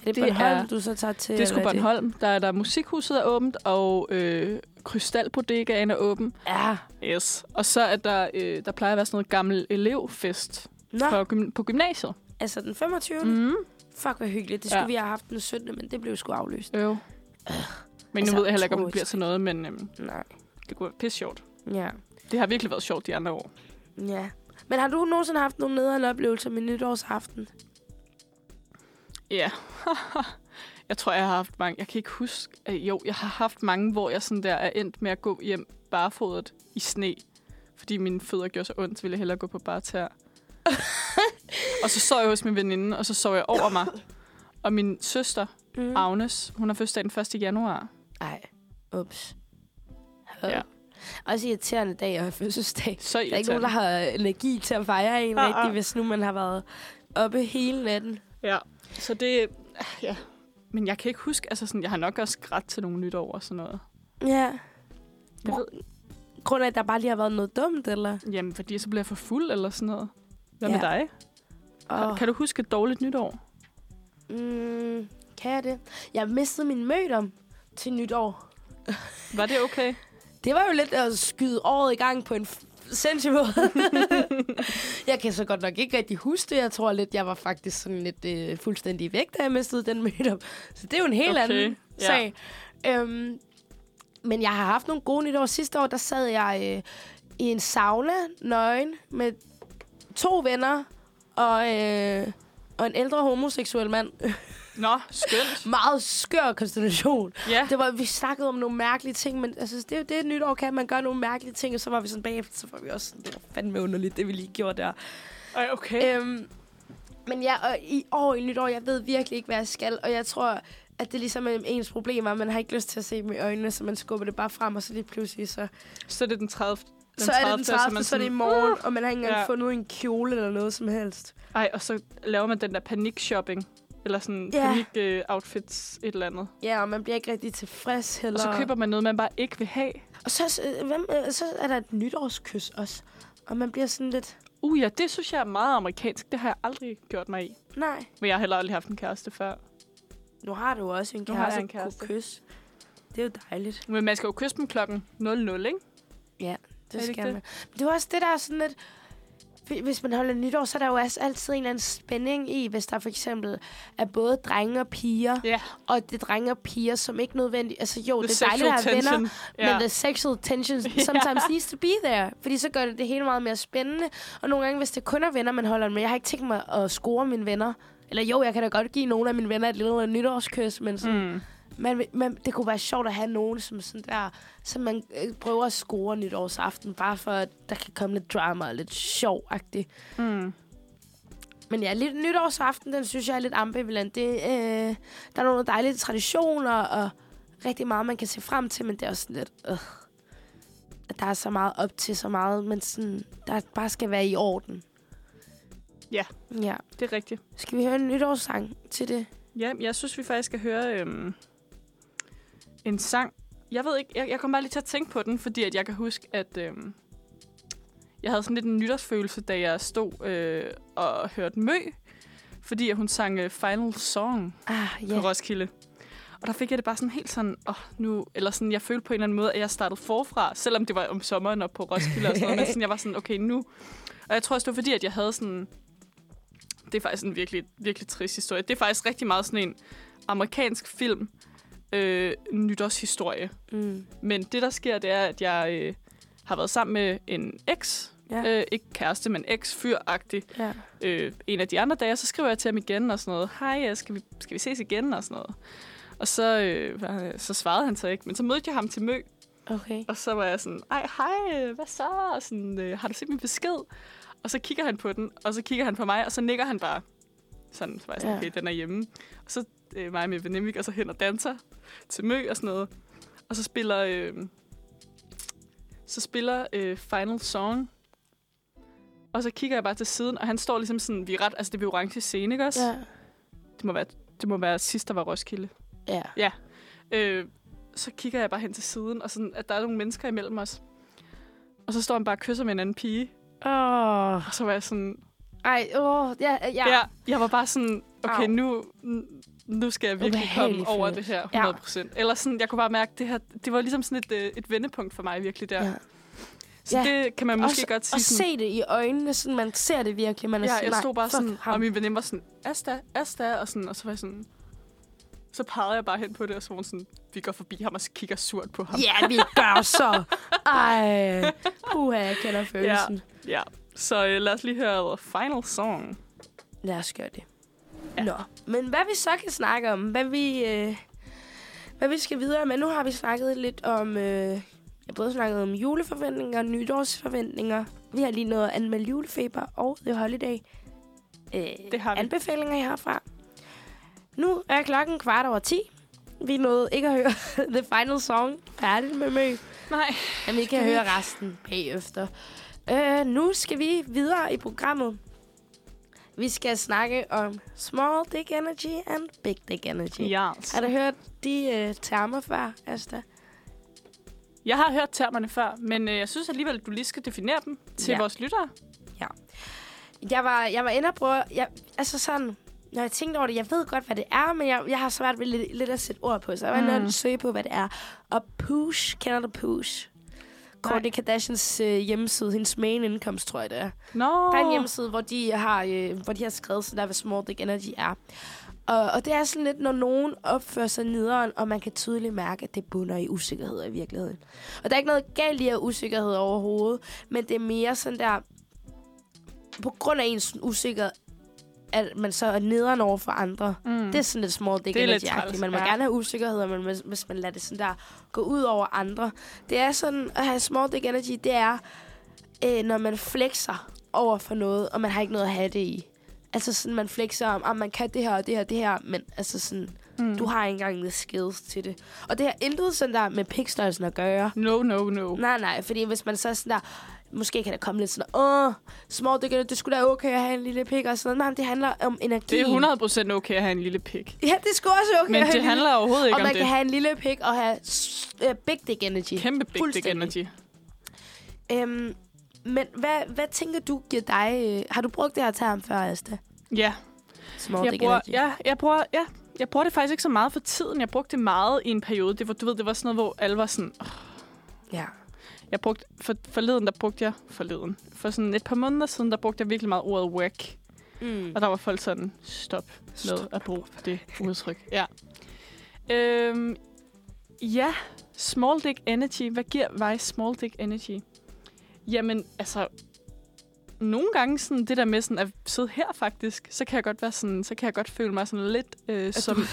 Er det,
Det
det Bornholm,
er-
du så tager til?
Det er sgu
eller det-
Bornholm. Der er der musikhuset er åbent, og øh, Krystalbodegaen er åben.
Ja.
Yes. Og så er der, øh, der plejer at være sådan noget gammel elevfest
Nå,
på, gym- på gymnasiet.
altså den 25. Mm.
Mm.
Fuck, hvor hyggeligt. Det
Ja.
skulle vi have haft den 17., men det blev sgu aflyst.
Jo. Øh. Men nu
Altså,
ved jeg heller ikke, om det
utroligt.
bliver til noget, men øhm,
Nej.
det kunne være pisse sjovt.
Ja.
Det har virkelig været sjovt de andre år.
Ja. Men har du nogensinde haft nogle nederen oplevelser med nytårsaften? [laughs]
Ja. jeg tror, jeg har haft mange. Jeg kan ikke huske. Øh, jo, jeg har haft mange, hvor jeg sådan der er endt med at gå hjem barefodet i sne. Fordi mine fødder gjorde så ondt, så ville jeg hellere gå på bare
[laughs]
tær. og så sov jeg hos min veninde, og så sov jeg over
[laughs]
mig. Og min søster,
Mm.
Agnes, hun har fødselsdag den 1. januar.
Ej. Ups.
Ja.
Ja. Også irriterende dag at have [laughs] fødselsdag.
Så
Der er ikke nogen, der har energi til at fejre en
Ah,
ah, rigtig,
ah.
hvis nu man har været oppe hele natten.
Ja, så det... øh, Ja. Men jeg kan ikke huske, altså sådan, jeg har nok også grædt til nogle nytår og sådan noget.
Ja.
Jeg ved,
Grunden af, at der bare lige har været noget dumt, eller?
jamen, fordi så bliver jeg for fuld eller sådan noget. Hvad med
Ja.
dig? Oh. Kan du huske et dårligt nytår?
Mm, kan jeg det? Jeg mistede min mødom til nytår.
Var det okay?
Det var jo lidt at skyde året i gang på en f- sindssyg måde. jeg kan så godt nok ikke rigtig huske det. Jeg tror lidt, jeg var faktisk sådan lidt øh, fuldstændig væk, da jeg mistede den mødom. Så det er jo en helt
Okay,
okay. anden
ja.
sag. Øhm, men jeg har haft nogle gode nytår. Sidste år, der sad jeg øh, i en sauna, nøgen, med to venner og, øh, og en ældre homoseksuel mand.
Nå, skønt.
Meget skør konstellation.
Ja,
Det var, vi snakkede om nogle mærkelige ting, men altså, det er jo det, et nytår kan. Man gør nogle mærkelige ting, og så var vi sådan bagefter, så var vi også sådan, det var fandme underligt, det vi lige gjorde der.
Ej, okay.
Øhm, men ja, og i år i nytår, jeg ved virkelig ikke, hvad jeg skal, og jeg tror, at det er ligesom en- ens problemer. Man har ikke lyst til at se dem i øjnene, så man skubber det bare frem, og så lige pludselig, så,
Så er det den 30. Den
så er det den 30, så,
man
så er det i
sådan-
morgen, og man har ikke engang
Ja.
ja. fundet en kjole eller noget som helst.
Ej, og så laver man den der panik-shopping. Eller sådan
Ja.
panik-outfits, et eller andet.
Ja, og man bliver ikke rigtig tilfreds heller.
Og så køber man noget, man bare ikke vil have.
og så, øh, hvem, øh, så er der et nytårskys også, og man bliver sådan lidt,
Uh ja, det synes jeg er meget amerikansk. Det har jeg aldrig gjort mig i.
nej.
Men jeg har heller aldrig haft en kæreste før.
Nu har du også en
Nu
kæreste,
har jeg en
at kunne
kæreste.
kysse. Det er jo dejligt.
Men man skal jo kysse dem klokken 00, ikke?
Ja,
Er det
det
ikke
skal
det?
man. Men det er også det, der er sådan lidt... hvi- hvis man holder nytår, så er der jo også altid en eller anden spænding i, hvis der for eksempel er både drenge og piger,
Ja,
og det er drenge og piger, som ikke nødvendigt... Altså jo,
the
det er dejligt at
sexual
have venner,
tension.
Yeah. Men the sexual
[laughs]
tension sometimes needs to be there. Fordi så gør det det hele meget mere spændende. Og nogle gange, hvis det kun er venner, man holder med. Jeg har ikke tænkt mig at score mine venner. Eller jo, jeg kan da godt give nogle af mine venner et lille nytårskys, men sådan,
Mm.
mm. man, vil- man, det kunne være sjovt at have nogen, som sådan der, som man øh, prøver at score nytårsaften, bare for, at der kan komme lidt drama og lidt sjovagtigt.
Mm.
Men ja, lidt nytårsaften, den synes jeg er lidt ambivalent. Det, øh, der er nogle dejlige traditioner, og rigtig meget, man kan se frem til, men det er også sådan lidt... Øh, at der er så meget op til så meget, men sådan, der bare skal være i orden.
Ja.
Ja.
Det er rigtigt.
Skal vi høre en nytårssang til det?
Ja, jeg synes, vi faktisk skal høre øhm, en sang. Jeg ved ikke, jeg, jeg kom bare lige til at tænke på den, fordi at jeg kan huske, at øhm, jeg havde sådan lidt en nytårsfølelse, da jeg stod øh, og hørte Mø, fordi at hun sang øh, Final Song
Ah, ja.
yeah. på Roskilde. Og der fik jeg det bare sådan helt sådan, åh, nu, eller sådan, jeg følte på en eller anden måde, at jeg startede forfra, selvom det var om sommeren og på Roskilde og sådan noget, men sådan, jeg var sådan, okay, nu. Og jeg tror også, det var fordi, at jeg havde sådan, det er faktisk en virkelig, virkelig trist historie. Det er faktisk rigtig meget sådan en amerikansk film, øh, nytårshistorie.
Mm.
Men det, der sker, det er, at jeg øh, har været sammen med en eks,
Ja.
øh, ikke kæreste, men eks-fyr-agtig,
ja.
øh, en af de andre dage, så skriver jeg til ham igen og sådan noget. Hej, ja, skal vi, skal vi ses igen og sådan noget. Og så, øh, hvad- så svarede han så ikke, men så mødte jeg ham til mø,
Okay.
og så var jeg sådan, ej, hej, øh, hvad så? Og sådan, øh, har du set min besked? Og så kigger han på den, og så kigger han på mig, og så nikker han bare. Sådan, så var jeg sådan,
Ja.
okay, den er hjemme. Og så øh, mig og min veninde, vi går så hen og danser til mø og sådan noget. Og så spiller, øh, så spiller øh, Final Song. Og så kigger jeg bare til siden, og han står ligesom sådan, vi er ret, altså det er ved orange scene, ikke også?
Ja.
Det, må være, det må være sidst, der var Roskilde.
Ja.
Øh, så kigger jeg bare hen til siden, og sådan, at der er nogle mennesker imellem os. Og så står han bare og kysser med en anden pige.
Åh.
Og så var jeg sådan...
Ej, åh, ja, ja.
Ja. Jeg, jeg var bare sådan, okay,
Au.
nu, nu skal jeg virkelig
Ubehagelig
komme over det
følelse.
her 100 procent. Eller sådan, jeg kunne bare mærke, det her, det var ligesom sådan et, øh, et vendepunkt for mig virkelig der.
Ja.
Ja. Så
Ja.
ja. det kan man måske
Også-
godt
Og
sige sådan...
se det i øjnene, sådan man ser det virkelig. Man er
Ja,
sådan,
jeg
nej,
stod bare
fuck
sådan,
ham.
og min veninde var sådan, Asta, Asta, og, sådan, og så var jeg sådan... Så pegede jeg bare hen på det, og så var hun sådan, vi går forbi ham og så kigger surt på ham.
Ja, vi gør så. Ej, puha, jeg kender følelsen. Ja.
Ja, så øh, lad os lige høre Final Song.
Lad os gøre det.
Ja.
Ja. Nå, men hvad vi så kan snakke om, hvad vi, øh, hvad vi skal videre med. Nu har vi snakket lidt om, øh, jeg har både snakket om juleforventninger, nytårsforventninger. Vi har lige noget at anmelde julefeber og The Holiday. Øh,
Det har vi.
Anbefalinger herfra. Nu er klokken kvart over 10. Vi nåede ikke at høre [laughs] The Final Song færdigt med mø.
Nej.
Men vi kan høre resten bagefter. Øh, nu skal vi videre i programmet. Vi skal snakke om small dick energy and big dick energy.
Ja.
Har du hørt de øh, termer før, Asta?
Jeg har hørt termerne før, men øh, jeg synes alligevel, at du lige skal definere dem til
Ja.
ja. vores lyttere.
Jeg var, jeg var inde og prøve... Jeg, altså sådan, når jeg tænkte over det, jeg ved godt, hvad det er, men jeg, jeg har svært ved lidt, lidt at sætte ord på, så jeg var inde og
Mm.
søge på, hvad det er. Og Push, kender du Push?
Nej.
Kourtney Kardashians øh, hjemmeside, hendes main indkomst, tror jeg det er.
Nå.
Der er en hjemmeside, hvor de har, øh, hvor de har skrevet sådan der, hvad small dick energy er. Og, og det er sådan lidt, når nogen opfører sig nederen, og man kan tydeligt mærke, at det bunder i usikkerhed i virkeligheden. Og der er ikke noget galt i at have usikkerhed overhovedet, men det er mere sådan der, på grund af ens usikkerhed, at man så er nederen over for andre.
Mm.
Det er sådan lidt small dick
Det er lidt
energy
træls,
Man må ja.
ja.
gerne have usikkerheder, men hvis, hvis man lader det sådan der gå ud over andre. Det er sådan, at have small dick energy, det er, øh, når man flexer over for noget, og man har ikke noget at have det i. Altså sådan, man flexer om, at man kan det her og det her og det her, men altså sådan, mm. du har ikke engang the skills til det. Og det har intet sådan der med pikstørrelsen at gøre.
No, no, no.
Nej, nej, fordi hvis man så sådan der, måske kan der komme lidt sådan, åh, small dick energy, det skulle da være okay at have en lille pik og sådan noget. Nej, men det handler om energi.
Det er 100 procent okay at have en lille pik.
Ja, det skulle også være okay
Men
at have
det
en lille
handler overhovedet
og
ikke om
man
det.
kan have en lille pik og have s- øh, big dick energy.
Kæmpe big dick
Fuldstændig.
energy.
Øhm, men hvad, hvad tænker du giver dig... Øh, har du brugt det her term før, Asta?
Ja,
Small
jeg
dick
bruger,
energy.
ja, jeg bruger, ja, jeg bruger det faktisk ikke så meget for tiden. Jeg brugte det meget i en periode. Det var, du ved, det var sådan noget, hvor alle var sådan,
ja.
Jeg brugte, for, forleden, der brugte jeg, forleden, for sådan et par måneder siden, der brugte jeg virkelig meget ordet work.
Mm.
Og der var folk sådan, stop med
Stop
at bruge det udtryk. Ja. Øhm, ja, small dick energy. Hvad giver mig small dick energy? Jamen, altså, nogle gange sådan det der med sådan at sidde her faktisk, så kan jeg godt være sådan, så kan jeg godt føle mig sådan lidt øh, som,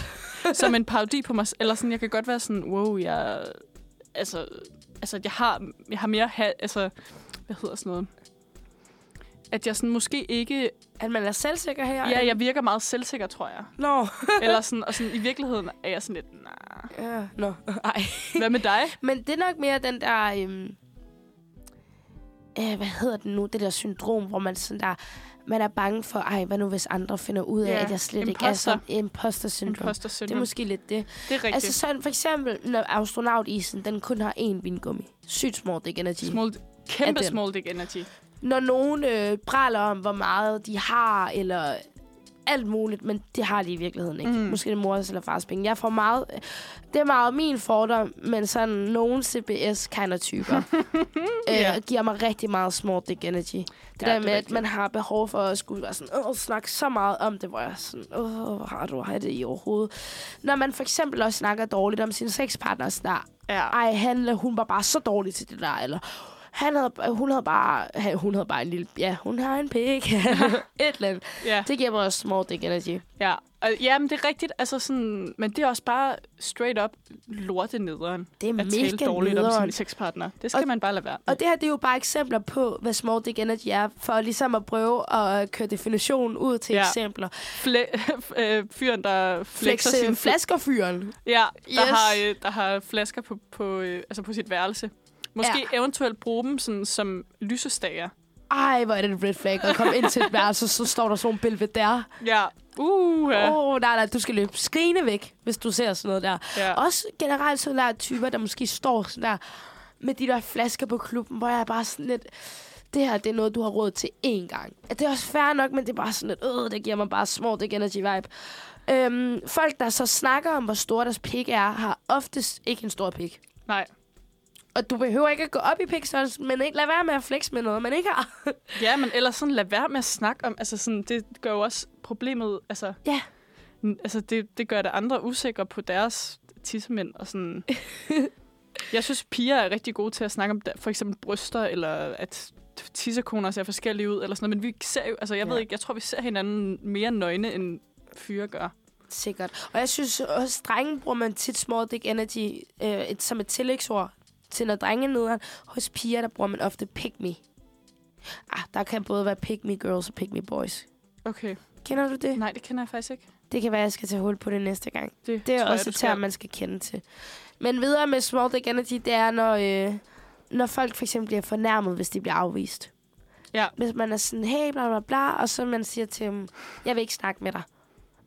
som en parodi på mig, s- eller sådan, jeg kan godt være sådan, wow, jeg, altså, altså, jeg har, jeg har mere, ha, altså, hvad hedder sådan noget? At jeg sådan måske ikke
At man er selvsikker her.
Ja, jeg virker meget selvsikker, tror jeg.
Nå.
Eller sådan, og sådan, i virkeligheden er jeg sådan lidt, nah.
Ja, nå. Ej.
Hvad med
[laughs]
dig?
Men det er nok mere den der... Øhm, øh, hvad hedder det nu? Det der syndrom, hvor man sådan der... Man er bange for, ej, hvad nu hvis andre finder ud af,
Ja,
at jeg slet ikke er
imposter.
sådan imposter syndrom.
Imposter
Det er
syndrome.
måske lidt det.
Det, det er rigtigt.
Altså
Altså,
sådan, for eksempel, når astronautisen, den kun har én vingummi. Sygt small dick energy.
small, kæmpe
den.
small dick energy.
Når nogen øh, praler om, hvor meget de har, eller alt muligt, men det har de i virkeligheden ikke.
Mm.
Mm. Måske det er mors eller fars penge. Jeg får meget... Det er meget min fordom, men sådan nogen CBS kind of
[laughs]
typer øh,
Ja.
giver mig rigtig meget small dick energy. Det
Ja,
ja,
det
der
er
med, at
rigtigt.
man har behov for at skulle være sådan, åh, snakke så meget om det, hvor jeg er sådan, åh, hvor har du har jeg det i overhovedet? Når man for eksempel også snakker dårligt om sin sexpartner, sådan der,
Ja.
ej, han, eller hun var bare så dårlig til det der, eller han havde, hun havde bare, han- hun havde bare en lille, ja, hun har en
[laughs]
pik, [laughs] et eller andet.
Ja,
Det giver mig også small dick energy.
ja. Og, ja, men det er rigtigt. Altså sådan, men det er også bare straight up lorte nederen.
Det er
At tale
mega
dårligt om sin
nederen.
sexpartner. Det skal
Og-
man bare lade være.
Og det her, det er jo bare eksempler på, hvad small dick energy er, for ligesom at prøve at køre definitionen ud til
Ja.
ja. eksempler.
Fle- [laughs] øh, fyren, der flexer sin
Flexe, flaskerfyren.
Ja, der, yes.
Yes.
har, øh, der har flasker på, på, øh, altså på sit værelse. Måske ja.
Ja.
eventuelt bruge dem sådan, som lysestager.
Ej, hvor er det en red flag at komme ind til et værelse, så står der sådan en belvedere.
Ja. Uh,
Åh,
ja.
oh, nej, nej, du skal løbe skrigende væk, hvis du ser sådan noget der.
ja.
Også generelt sådan der typer, der måske står sådan der med de der flasker på klubben, hvor jeg er bare sådan lidt, det her, det er noget, du har råd til én gang. Det er også fair nok, men det er bare sådan lidt, øh, det giver mig bare små, det energy vibe. Øhm, folk, der så snakker om, hvor stor deres pik er, har oftest ikke en stor pik.
Nej.
Og du behøver ikke at gå op i pikstørrelsen, men ikke lad være med at flex med noget, man ikke har.
Ja, men ellers sådan, lad være med at snakke om, altså sådan, det gør jo også problemet, altså,
Ja.
n- altså det, det gør det andre usikre på deres tissemænd og
[laughs]
sådan. Jeg synes, piger er rigtig gode til at snakke om der- for eksempel bryster, eller at tissekoner ser forskellige ud, eller sådan noget, men vi ser jo, altså jeg ja. ved
Ja.
ikke, jeg tror, vi ser hinanden mere nøgne, end fyre gør.
Sikkert. Og jeg synes også, drenge bruger man tit small dick energy øh, et, som et tillægsord til, når drenge er nederen. Hos piger, der bruger man ofte pick me. Ah, der kan både være pick me girls og pick me boys.
Okay.
Kender du det?
Nej, det kender jeg faktisk ikke.
Det kan være, jeg skal tage hul på det næste gang.
Det,
Det er
tror
også
du
et
skal.
term, man skal kende til. Men videre med small dick energy, det er, når, øh, når folk for eksempel bliver fornærmet, hvis de bliver afvist.
Ja.
Hvis man er sådan, hey, bla bla bla, og så man siger til dem, jeg vil ikke snakke med dig.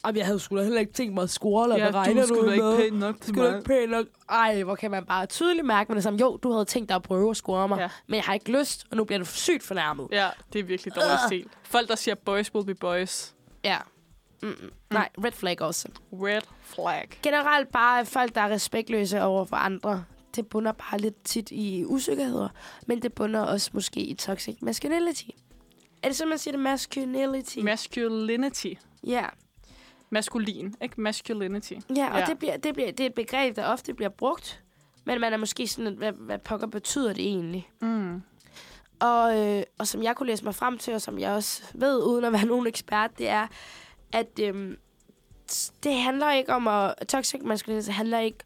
Jamen, jeg havde sgu da heller ikke tænkt mig at score, eller
Ja,
hvad regner
du skulle da ikke pænt nok til
Skal du
mig.
ikke pænt nok? Ej, hvor kan man bare tydeligt mærke med det samme. Jo, du havde tænkt dig at prøve at score mig,
Ja.
ja. men jeg har ikke lyst, og nu bliver du sygt fornærmet.
Ja, det er virkelig dårlig
Ah.
stil. Folk, der siger, boys will be boys.
Ja. Mm-mm. Nej, red flag også.
Red flag.
Generelt bare folk, der er respektløse over for andre. Det bunder bare lidt tit i usikkerheder, men det bunder også måske i toxic masculinity. Er det sådan, man siger det? Masculinity?
Masculinity.
ja.
Maskulin, ikke? Masculinity.
Ja, og
Ja.
ja. Det, bliver, det, bliver, det er et begreb, der ofte bliver brugt, men man er måske sådan, lidt, hvad, hvad pokker betyder det egentlig?
Mm.
Og, øh, og som jeg kunne læse mig frem til, og som jeg også ved, uden at være [laughs] nogen ekspert, det er, at øh, det handler ikke om at... Toxic maskulinitet handler ikke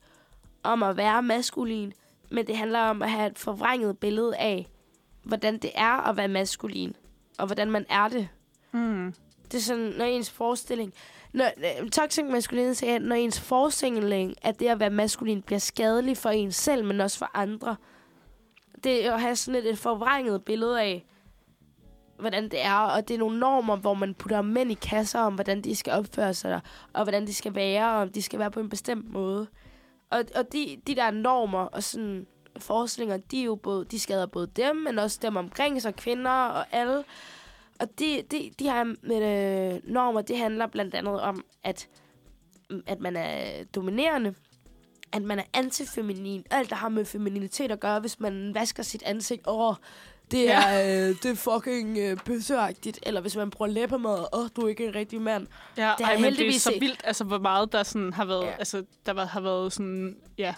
om at være maskulin, men det handler om at have et forvrænget billede af, hvordan det er at være maskulin, og hvordan man er det.
Mm.
Det er sådan, når ens forestilling... Når, øh, toxic maskulinitet er, når ens forestilling, at det at være maskulin bliver skadelig for en selv, men også for andre. Det er at have sådan lidt et forvrænget billede af, hvordan det er, og det er nogle normer, hvor man putter mænd i kasser om, hvordan de skal opføre sig, og hvordan de skal være, og om de skal være på en bestemt måde. Og, og de, de der normer og sådan forestillinger, de, er jo både, de skader både dem, men også dem omkring sig, kvinder og alle. Og de, de, de her med, øh, mm, normer, det handler blandt andet om, at, at man er dominerende, at man er antifeminin. Alt, der har med femininitet at gøre, hvis man vasker sit ansigt over... Det er, øh, det er fucking øh, bøsseagtigt. Eller hvis man bruger læbemad, og åh, du er ikke en rigtig mand.
Ja,
Det
det
har
ej, men
jeg
det er
heldigvis
så
ikke.
vildt, altså, hvor meget der sådan har været,
Ja.
ja. altså, der var, har været sådan, ja,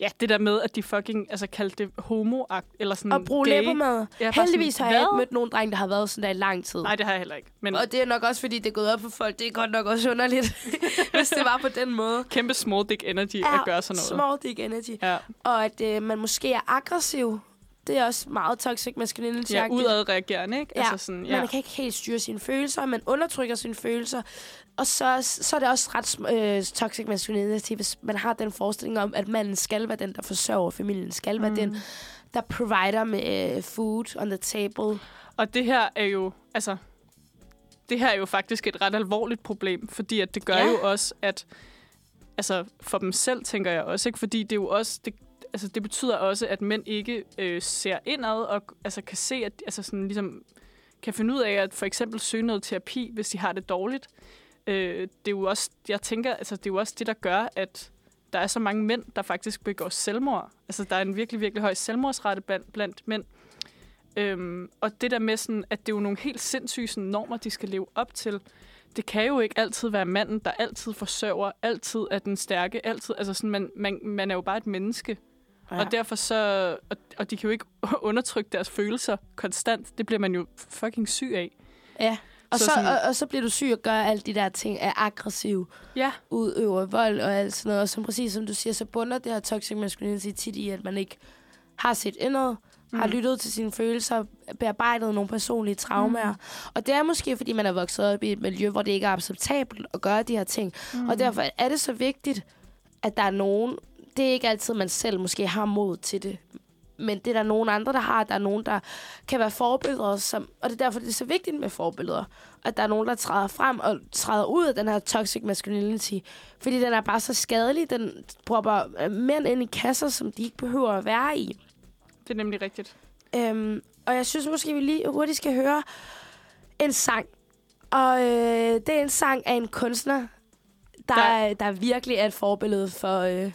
ja, det der med, at de fucking altså, kaldte det homoagt, eller sådan
Og bruge
gay.
læbemad.
Ja,
Ja,
bare
Heldigvis
sådan,
har jeg
hvad?
ikke mødt nogen dreng, der har været sådan der i lang tid.
Nej, det har jeg heller ikke. Men
Og det er nok også, fordi det er gået op for folk. Det er godt nok også underligt, [laughs] hvis det var på den måde.
kæmpe small dick energy ja, at gøre sådan noget.
Small dick energy.
Ja,
Og at øh, man måske er aggressiv. Det er også meget toxic masculinity.
ja udadreagerende, ikke?
Ja,
Altså sådan, ja.
Man kan ikke helt styre sine følelser, man undertrykker sine følelser. Og så, så er det også ret sm- øh, toxic masculinity, hvis man har den forestilling om, at manden skal være den, der forsørger familien, skal være mm. den, der provider med øh, food on the table.
Og det her er jo, altså, det her er jo faktisk et ret alvorligt problem, fordi at det gør
Ja.
ja. jo også, at, altså for dem selv tænker jeg også, ikke? fordi det er jo også, det, altså det betyder også, at mænd ikke øh, ser indad og altså kan se, at, altså sådan ligesom, kan finde ud af at for eksempel søge noget terapi, hvis de har det dårligt. Øh, det er jo også, jeg tænker, altså det er jo også det, der gør, at der er så mange mænd, der faktisk begår selvmord. Altså der er en virkelig, virkelig høj selvmordsrate blandt, blandt mænd. Øhm, og det der med, sådan, at det er jo nogle helt sindssyge sådan, normer, de skal leve op til. Det kan jo ikke altid være manden, der altid forsørger, altid er den stærke, altid. Altså sådan, man, man, man er jo bare et menneske. Ja. Og derfor så, og, og de kan jo ikke [laughs] undertrykke deres følelser konstant. Det bliver man jo fucking syg af.
Ja. Og så,
Så
så,
sådan-
og, og så bliver du syg og gør alle de der ting, er aggressiv,
Ja,
udøver vold og alt sådan noget. Og som præcis som du siger, så bunder det her toxic masculinity tit i, at man ikke har set indad, mm. har lyttet til sine følelser, bearbejdet nogle personlige traumer. Mm. Og det er måske, fordi man er vokset op i et miljø, hvor det ikke er acceptabelt at gøre de her ting. Mm. Og derfor er det så vigtigt, at der er nogen... Det er ikke altid, man selv måske har mod til det. Men det er der nogen andre, der har. Der er nogen, der kan være forbilleder. Som, og det er derfor, det er så vigtigt med forbilleder. At der er nogen, der træder frem og træder ud af den her toxic masculinity. Fordi den er bare så skadelig. Den propper øh, mænd ind i kasser, som de ikke behøver at være i.
det er nemlig rigtigt.
Øhm, og jeg synes måske, vi lige hurtigt skal høre en sang. Og øh, det er en sang af en kunstner, der, der,
Der-
der virkelig er et forbillede for, øh,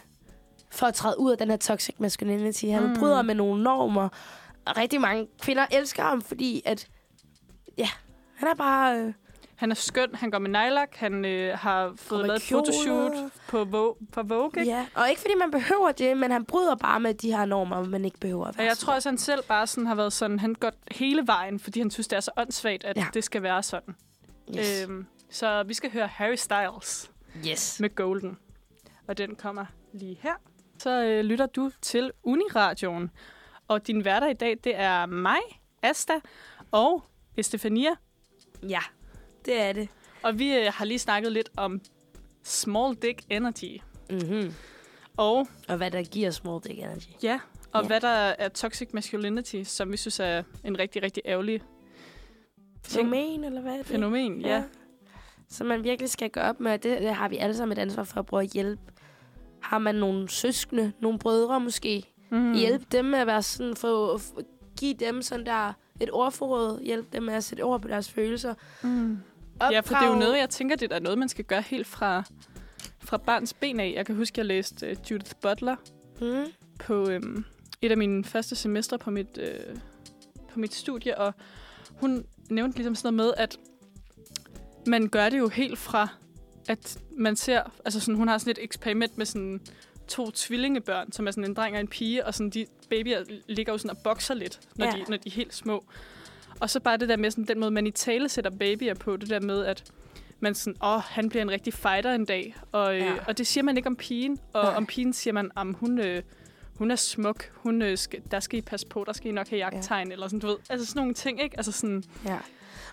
for at træde ud af den her toxic masculinity. Han mm. bryder med nogle normer, og rigtig mange kvinder elsker ham, fordi at, ja, han er bare... Øh,
Han er skøn, han går med nylak, han øh, har
med
fået lavet et
kjoler.
fotoshoot på Vogue. På Vogue ikke?
ja. Og ikke fordi man behøver det, men han bryder bare med de her normer, man ikke behøver at
Og
være
jeg
sådan.
tror også, han selv bare sådan har været sådan, han går hele vejen, fordi han synes, det er så åndssvagt, at
Ja.
ja. det skal være sådan.
Yes.
Øhm, så vi skal høre Harry Styles
yes.
med Golden. Og den kommer lige her. Så øh, lytter du til Uniradioen. Og din værter i dag, det er mig, Asta og Estefania.
Ja, det er det.
Og vi øh, har lige snakket lidt om small dick energy.
Mm-hmm.
Og
Og hvad der giver small dick energy.
Ja, og
Ja.
ja. hvad der er toxic masculinity, som vi synes er en rigtig, rigtig ærgerlig ting.
Fænomen, eller hvad er det?
fænomen. Ja. ja.
Så man virkelig skal gøre op med, og det, det har vi alle sammen et ansvar for at prøve at hjælpe. Har man nogle søskende, nogle brødre måske,
Mhm.
mm. hjælpe dem med at være sådan, få, få- give dem sådan der et ordforråd, hjælpe dem med at sætte ord på deres følelser.
Mm. Ja, for det er jo noget, jeg tænker, det er noget, man skal gøre helt fra, fra barns ben af. Jeg kan huske, jeg læste uh, Judith Butler
Mm.
på øhm, et af mine første semestre på mit, øh, på mit studie, og hun nævnte ligesom sådan noget med, at man gør det jo helt fra, at man ser, altså sådan, hun har sådan et eksperiment med sådan to tvillingebørn, som er sådan en dreng og en pige, og sådan de babyer ligger jo sådan og bokser lidt, når,
Ja.
ja. de, når de er helt små. Og så bare det der med sådan, den måde, man i tale sætter babyer på, det der med, at man sådan, åh, han bliver en rigtig fighter en dag. Og, øh,
Ja.
ja. og det siger man ikke om pigen. Og
Nej.
om pigen siger man, at hun, øh, hun er smuk, hun, øh, skal, der skal I passe på, der skal I nok have jagttegn, ja. eller sådan, du ved. Altså sådan nogle ting, ikke? Altså sådan,
Ja.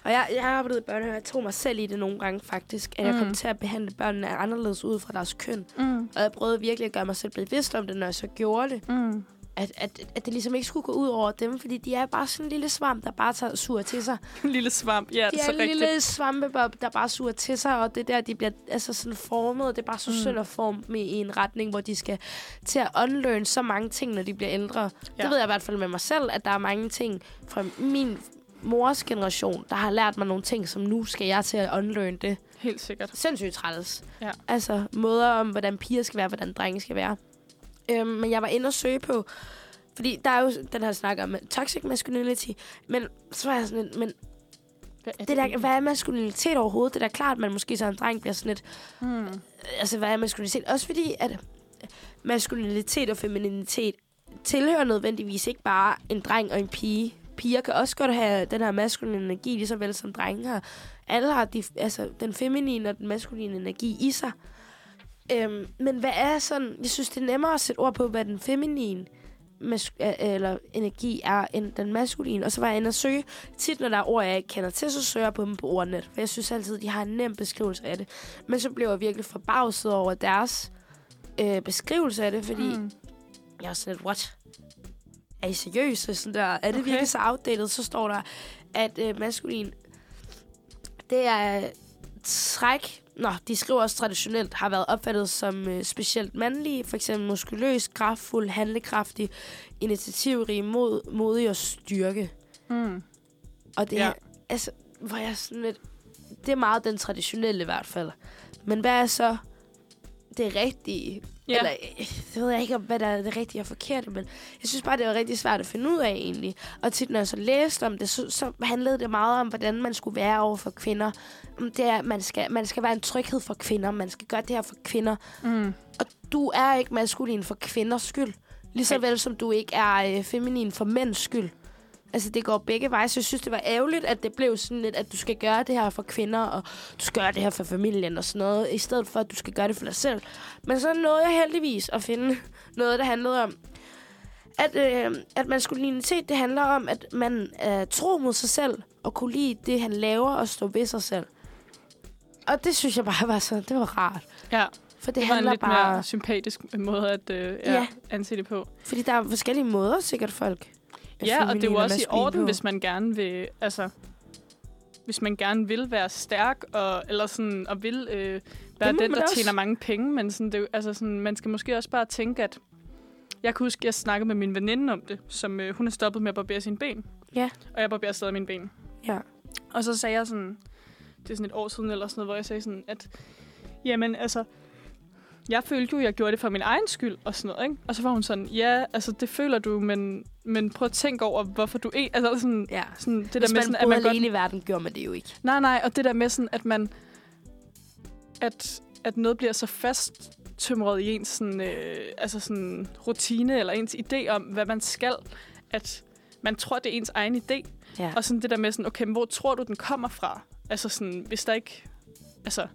Og jeg, jeg har arbejdet i børnehave, og jeg tog mig selv i det nogle gange faktisk, at mm. jeg kom
Mm.
til at behandle børnene anderledes ud fra deres køn.
mm,
Og jeg prøvede virkelig at gøre mig selv bevidst om det, når jeg så gjorde det.
mm.
at, at, at det ligesom ikke skulle gå ud over dem, fordi de er bare sådan en lille svamp, der bare tager sur til sig.
[laughs] en lille svamp. Ja,
De
det er
er
så
en
rigtigt.
lille svampebob, der bare suger til sig, og det er der, de bliver altså sådan formet, og det er bare så mm. synd at forme dem i en retning, hvor de skal til at unlearn så mange ting, når de bliver ældre. Ja.
Ja.
Det ved jeg i hvert fald med mig selv, at der er mange ting fra min mors generation, der har lært mig nogle ting, som nu skal jeg til at unlearn det.
helt sikkert.
sindssygt træls.
Ja.
Altså måder om, hvordan piger skal være, hvordan drenge skal være. Øhm, men jeg var inde og søge på, fordi der er jo den her snak om øh, toxic masculinity, men så var jeg sådan lidt, men
Hvad er
det der, hvad er maskulinitet overhovedet? Det er da klart, at man måske som en dreng bliver sådan lidt,
Hmm.
altså hvad er maskulinitet? Også fordi, at maskulinitet og femininitet tilhører nødvendigvis ikke bare en dreng og en pige. Piger kan også godt have den her maskuline energi, lige så vel som drenge har. Alle har de, altså, den feminine og den maskuline energi i sig. Øhm, men hvad er sådan... Jeg synes, det er nemmere at sætte ord på, hvad den feminine mas- eller energi er, end den maskuline. Og så var jeg inde og søge. Tit, når der er ord, jeg ikke kender til, så søger jeg på dem på ordnet. For jeg synes altid, de har en nem beskrivelse af det. Men så blev jeg virkelig forbavset over deres øh, beskrivelse af det, fordi mm.
Hmm.
jeg er sådan lidt, what? Er I seriøse? Sådan der, er det
Okay.
okay. virkelig så outdated? Så står der, at øh, maskulin, det er træk, nå, de skriver også traditionelt, har været opfattet som øh, specielt mandlige, for eksempel muskuløs, kraftfuld, handlekraftig, initiativrig, mod, modig og styrke. Mm.
Hmm.
Og det
Ja.
ja. er, altså, hvor jeg sådan lidt, det er meget den traditionelle i hvert fald. Men hvad er så det rigtige?
Ja.
Eller, øh, det ved jeg ikke, om hvad der er det rigtige og forkerte, men jeg synes bare, det var rigtig svært at finde ud af egentlig. Og tit, når jeg så læste om det, så, så handlede det meget om, hvordan man skulle være over for kvinder. Om Det er, at man skal, man skal være en tryghed for kvinder, man skal gøre det her for kvinder.
Mm.
Og du er ikke maskulin for kvinders skyld, lige så vel som du ikke er øh, feminin for mænds skyld. Altså, det går begge veje, så jeg synes, det var ærgerligt, at det blev sådan lidt, at du skal gøre det her for kvinder, og du skal gøre det her for familien og sådan noget, i stedet for, at du skal gøre det for dig selv. Men så nåede jeg heldigvis at finde [laughs] noget, der handlede om, at, øh, at maskulinitet, det handler om, at man er tro mod sig selv, og kunne lide det, han laver, og stå ved sig selv. Og det synes jeg bare [laughs] var så, det var rart.
Ja,
For det,
det var en
handler
lidt
bare...
mere sympatisk måde at øh, ja,
Ja.
anse det på.
Fordi der er forskellige måder, sikkert folk. er
Ja, og det er jo
feminine
også i
maskuline
orden,
på.
hvis man gerne vil, altså, hvis man gerne vil være stærk og eller sådan og vil øh, være
må
den
man
der
også.
tjener mange penge, men sådan det er jo- altså sådan man skal måske også bare tænke at jeg kan huske, jeg snakkede med min veninde om det, som øh, hun er stoppet med at barbere sine ben.
Ja.
Og jeg barberer stadig mine ben.
Ja.
Og så sagde jeg sådan, det er sådan et år siden eller sådan noget, hvor jeg sagde sådan, at jamen altså, jeg følte jo, jeg gjorde det for min egen skyld og sådan noget, ikke? Og så var hun sådan, ja, altså det føler du, men, men prøv at tænke over, hvorfor du ikke... Altså sådan,
Ja.
sådan det
Det
der
hvis
med
man
sådan,
boede
at man godt
alene i verden, gjorde man det jo ikke.
Nej, nej, og det der med sådan, at man... At, at noget bliver så fast tømret i ens sådan, øh, altså sådan, rutine eller ens idé om, hvad man skal, at man tror, det er ens egen idé.
Ja.
Og sådan det der med sådan, okay, men hvor tror du, den kommer fra? Altså sådan, hvis der ikke... Altså,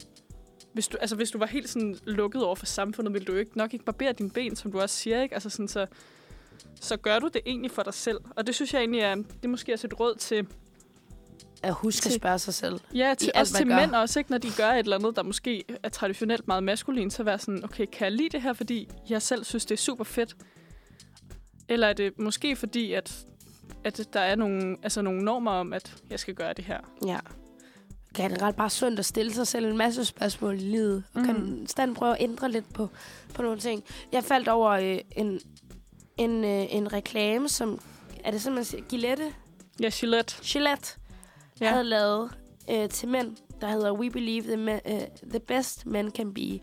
hvis du, altså, hvis du var helt sådan lukket over for samfundet, ville du jo ikke nok ikke barbere dine ben, som du også siger, ikke? Altså sådan, så, så gør du det egentlig for dig selv. Og det synes jeg egentlig er, det er måske også et råd til,
At huske at
Til-
spørge sig selv.
Ja, til,
alt,
også
man
til
gør.
mænd også, ikke? Når de gør et eller andet, der måske er traditionelt meget maskulin, så være sådan, okay, kan jeg lide det her, fordi jeg selv synes, det er super fedt? Eller er det måske fordi, at, at der er nogle, altså nogle normer om, at jeg skal gøre det her?
Ja. Generelt bare sundt at stille sig selv en masse spørgsmål i livet. Og kan
Mhm.
konstant prøve at ændre lidt på, på nogle ting. Jeg faldt over øh, en, en, øh, en reklame, som... Er det sådan, man siger? Gillette?
Ja, Gillette.
Gillette
Ja.
ja. havde lavet øh, til mænd, der hedder We Believe the, men, øh, the Best Men Can Be.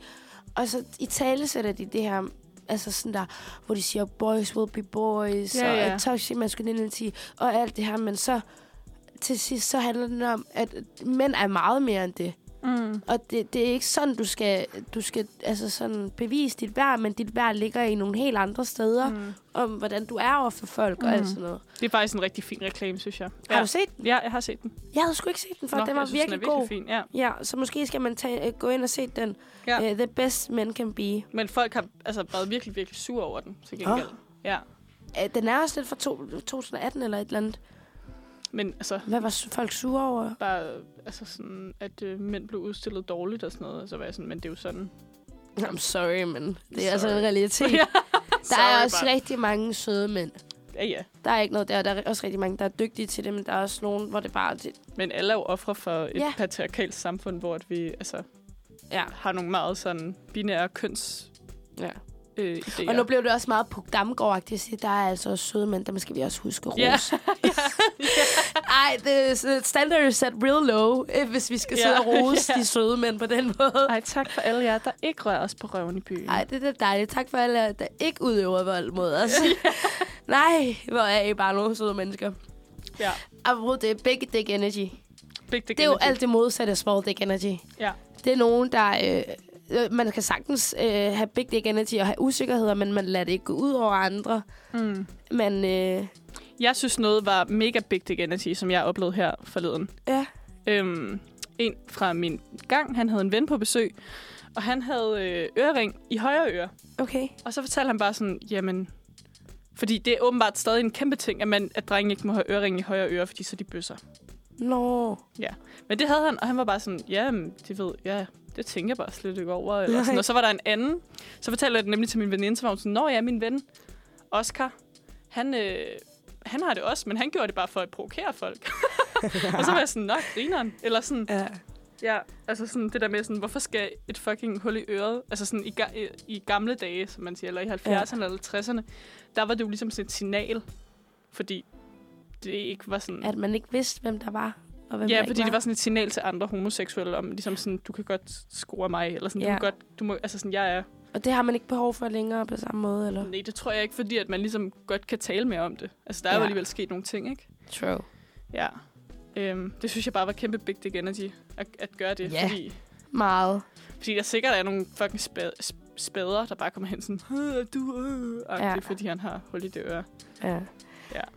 Og så i tale sætter de det her, altså sådan der, hvor de siger, boys will be boys,
Ja,
ja, og
ja.
ja. toxic masculinity, og alt det her. Men så til sidst, så handler det om, at mænd er meget mere end det.
Mm.
Og det, det er ikke sådan, du skal, du skal altså sådan bevise dit værd, men dit værd ligger i nogle helt andre steder, mm.
Mm.
om hvordan du er over for folk mm. og
Mhm.
alt sådan noget.
Det er faktisk en rigtig fin reklame, synes jeg.
Ja.
ja.
Har du set den?
Ja, jeg har set den.
Jeg havde sgu ikke set den før.
Nå,
Nå, den
jeg
var
synes,
virkelig,
den er virkelig
god.
fin. Ja.
Ja, så måske skal man tage, øh, gå ind og se den.
Ja.
Ja. Uh, the best men can be.
Men folk har altså, været virkelig, virkelig sure over den, til gengæld. Oh. Ja,
Uh, den er også lidt fra to, 2018 eller et eller andet.
men altså,
Hvad var s- folk sure over?
bare altså sådan, at øh, mænd blev udstillet dårligt og sådan noget. Og så var jeg sådan, men det er jo sådan.
I'm sorry, men det er altså
Sorry.
en
[laughs]
realitet.
Ja.
ja. Der er
Sorry,
også
bare.
rigtig mange søde mænd.
Ja, ja.
Der er ikke noget der. Der er også rigtig mange, der er dygtige til det, men der er også nogen, hvor det bare... Det,
Men alle er jo ofre for et ja.
Ja.
patriarkalt samfund, hvor at vi altså,
ja.
har nogle meget sådan binære køns
ja.
øh, idéer.
Og nu blev det også meget Puk Damgaard-agtigt. at sige, Der er altså også søde mænd, der skal vi også huske
[laughs]
at
Ja.
rose.
Ej, det, s- standard is at real low, øh, hvis vi skal sidde
Ja.
og rose
[laughs] Ja.
de søde mænd på den måde.
Ej, tak for alle jer, der ikke rører os på røven i byen.
Nej, det er da dejligt. Tak for alle, jer, der ikke udøver vold mod os. [laughs] Nej, hvor er I bare nogle søde mennesker.
Ja.
Apropos det, big dick energy.
Big dick
Det er jo
energy.
alt det modsatte af small dick energy.
Ja.
Det er nogen, der... Øh, øh, man kan sagtens øh, have big dick energy og have usikkerheder, men man lader det ikke gå ud over andre.
Mm.
Man, øh,
Jeg synes, noget var mega big dick energy, som jeg oplevede her forleden.
ja.
Øhm, en fra min gang, han havde en ven på besøg, og han havde øh, ørering i højre øre.
Okay.
Og så fortalte han bare sådan, jamen... Fordi det er åbenbart stadig en kæmpe ting, at, man, at drenge ikke må have ørering i højre øre, fordi så er de bøsser.
Nå.
Men det havde han, og han var bare sådan, ja, men det ved jeg, det tænker jeg bare slet ikke over. Eller
Nej.
sådan. Og så var der en anden, så fortalte jeg det nemlig til min veninde, så var hun sådan, nå ja, min ven, Oscar, han, øh, han har det også, men han gjorde det bare for at provokere folk.
[laughs]
og så var jeg sådan, nå, grineren. Eller sådan,
Ja.
ja, altså sådan det der med sådan, hvorfor skal et fucking hul i øret, altså sådan i, ga- i, i gamle dage, som man siger, eller i 70'erne eller 60'erne, der var det jo ligesom sådan et signal, fordi det ikke var sådan...
At man ikke vidste, hvem der var. Og hvem
Ja,
der
fordi
ikke
det var sådan et signal til andre homoseksuelle om, ligesom sådan, du kan godt score mig, eller sådan, ja.
Ja.
du, må godt, du må, altså sådan, jeg er,
Og det har man ikke behov for længere på samme måde, eller?
nej, det tror jeg ikke, fordi at man ligesom godt kan tale mere om det. Altså, der er jo
Ja.
alligevel sket nogle ting, ikke?
True.
Ja. Øhm, det synes jeg bare var kæmpe big dick energy, at, at gøre det,
Ja.
fordi,
Meget.
fordi der sikkert er nogle fucking spæd, sp- spæder, der bare kommer hen sådan, "Øh, du, øh, ja.
Ja.
fordi han har hul i det øre.
Ja.
Ja.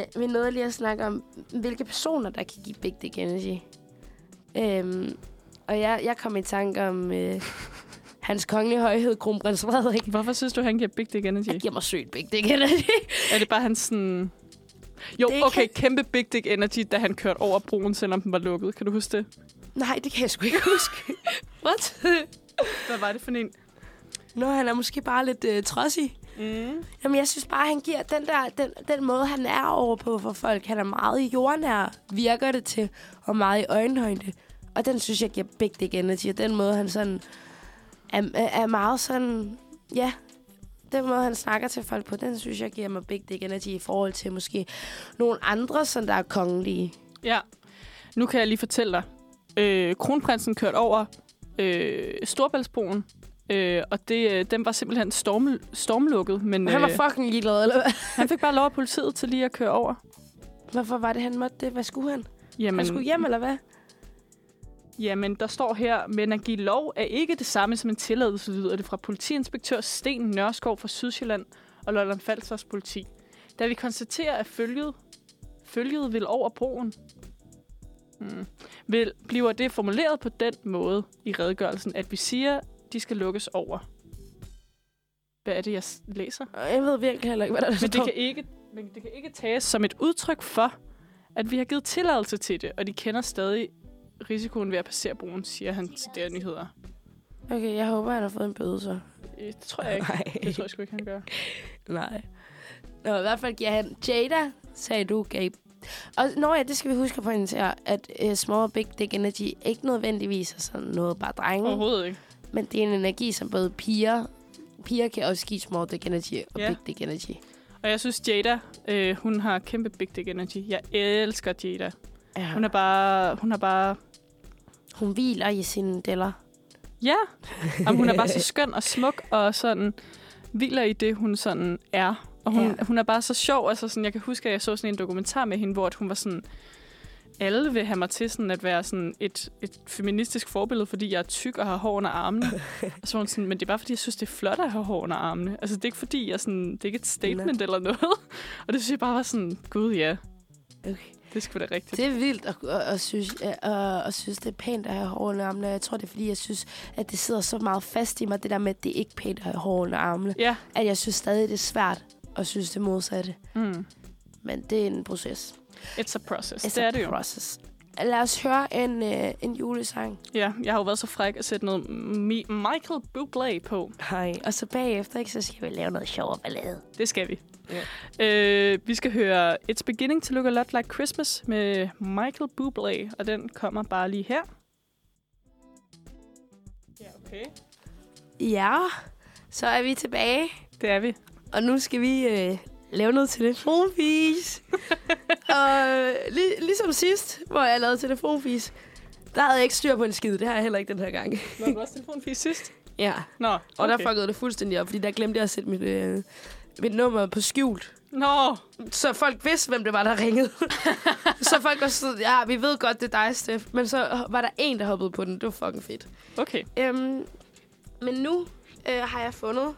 Øh, vi nåede lige at snakke om, hvilke personer, der kan give big dick energy. Øhm, og jeg, jeg kom i tanke
[laughs]
om øh, hans kongelige højhed, kronprins Frederik.
Hvorfor synes du, han giver big dick energy?
Han giver mig sygt big dick energy. [laughs]
Er det bare han sådan... Jo,
Det
okay, kæmpe big dick energy, da han kørte over broen, selvom den var lukket. Kan du huske det?
Nej, det kan jeg sgu ikke
[laughs]
huske.
What?
Hvad var det for en?
Nå, han er måske bare lidt øh, trodsig.
Mm.
Jamen, jeg synes bare, han giver den der, den, den måde, han er over på for folk. Han er meget jordnær, virker det til, og meget i øjenhøjde. Og den synes jeg giver big dick energy. Og den måde, han sådan er, er er meget sådan, ja, den måde, han snakker til folk på, den synes jeg giver mig big dick energy i forhold til måske nogle andre, sådan der er kongelige.
Ja. Nu kan jeg lige fortælle dig. Øh, kronprinsen kørte over øh, Storbæltsbroen, øh, og det, øh, den var simpelthen storm, stormlukket, men
Han var
øh,
fucking ligeglad, eller hvad?
han fik bare lov af politiet til lige at køre over.
Hvorfor var det, han måtte det? Hvad skulle han?
Jamen,
Han skulle hjem, eller hvad?
Jamen, der står her, men at give lov er ikke det samme som en tilladelse, lyder det fra politiinspektør Sten Nørskov fra Sydsjælland og Lolland Falsters politi. Da vi konstaterer, at følget, følget vil over broen, hmm, vil, bliver det formuleret på den måde i redegørelsen, at vi siger, de skal lukkes over. Hvad er det, jeg s- læser?
Jeg ved virkelig heller ikke, hvad der
Men det,
står.
kan ikke, men det kan ikke tages som et udtryk for, at vi har givet tilladelse til det, og de kender stadig risikoen ved at passere broen, siger han til der nyheder.
Okay, jeg håber, han har fået en bøde, [laughs] så.
Øh, Det tror jeg ikke. Det tror jeg sgu ikke, han gør.
Nej.
Nå, i hvert fald giver han
Jada, sagde du, Gabe. Og nå ja, det skal vi huske at pointere, at uh, small og big dick energy ikke nødvendigvis er sådan noget bare drenge, uh-huh.
Overhovedet ikke.
men det er en energi, som både piger, piger kan også give small dick energy og
Ja.
yeah. big dick energy.
Og jeg synes, Jada, øh, hun har kæmpe big dick energy. Jeg elsker Jada.
Ja.
Hun er bare... Hun er bare
Hun hviler i sine deller.
ja, Jamen, hun er bare så skøn og smuk, og sådan hviler i det, hun sådan er. Og hun, ja.
Ja.
hun er bare så sjov. Altså sådan, jeg kan huske, at jeg så sådan en dokumentar med hende, hvor at hun var sådan... Alle vil have mig til sådan at være sådan et, et feministisk forbillede, fordi jeg er tyk og har hår under
[laughs]
armene. og så var hun sådan, men det er bare, fordi jeg synes, det er flot at have hår under armene. Altså, det er ikke fordi, jeg sådan, det er ikke et statement eller noget. [laughs] og det synes jeg bare var sådan, gud ja,
Okay.
det skulle da rigtigt.
Det er vildt at, at, at, synes, at, at, at synes, det er pænt at have hår under armene. og Jeg tror, det er, fordi jeg synes, at det sidder så meget fast i mig, det der med, at det er ikke pænt at have hår under armene.
Ja.
At jeg synes stadig, det er svært at synes det modsatte.
Mm.
Men det er en proces.
It's a process.
It's
det
a
er det jo.
Process. Lad os høre en, øh, en julesang.
Ja, jeg har jo været så fræk at sætte noget Mi- Michael Bublé på.
Hej. Og så bagefter, ikke, så skal vi lave noget sjovt ballade.
Det skal vi.
Ja.
Øh, vi skal høre It's Beginning to Look a Lot Like Christmas med Michael Bublé, og den kommer bare lige her. Ja, okay.
Ja, så er vi tilbage.
Det er vi.
[laughs]
Og nu skal vi øh, lave noget telefonvis.
Og li- ligesom sidst, hvor jeg lavede telefonfis, der havde jeg ikke styr på en skid. Det har jeg heller ikke den her gang.
Var du også telefonfis sidst?
Ja.
Nå, okay.
Og der fuckede det fuldstændig op, fordi der glemte jeg at sætte mit, øh, mit nummer på skjult.
Nå,
Så folk vidste, hvem det var, der ringede. [laughs] så folk var sådan, ja, vi ved godt, det er dig, Steff. Men så var der en, der hoppede på den. Det var fucking fedt.
okay.
Øhm, men nu øh, har jeg fundet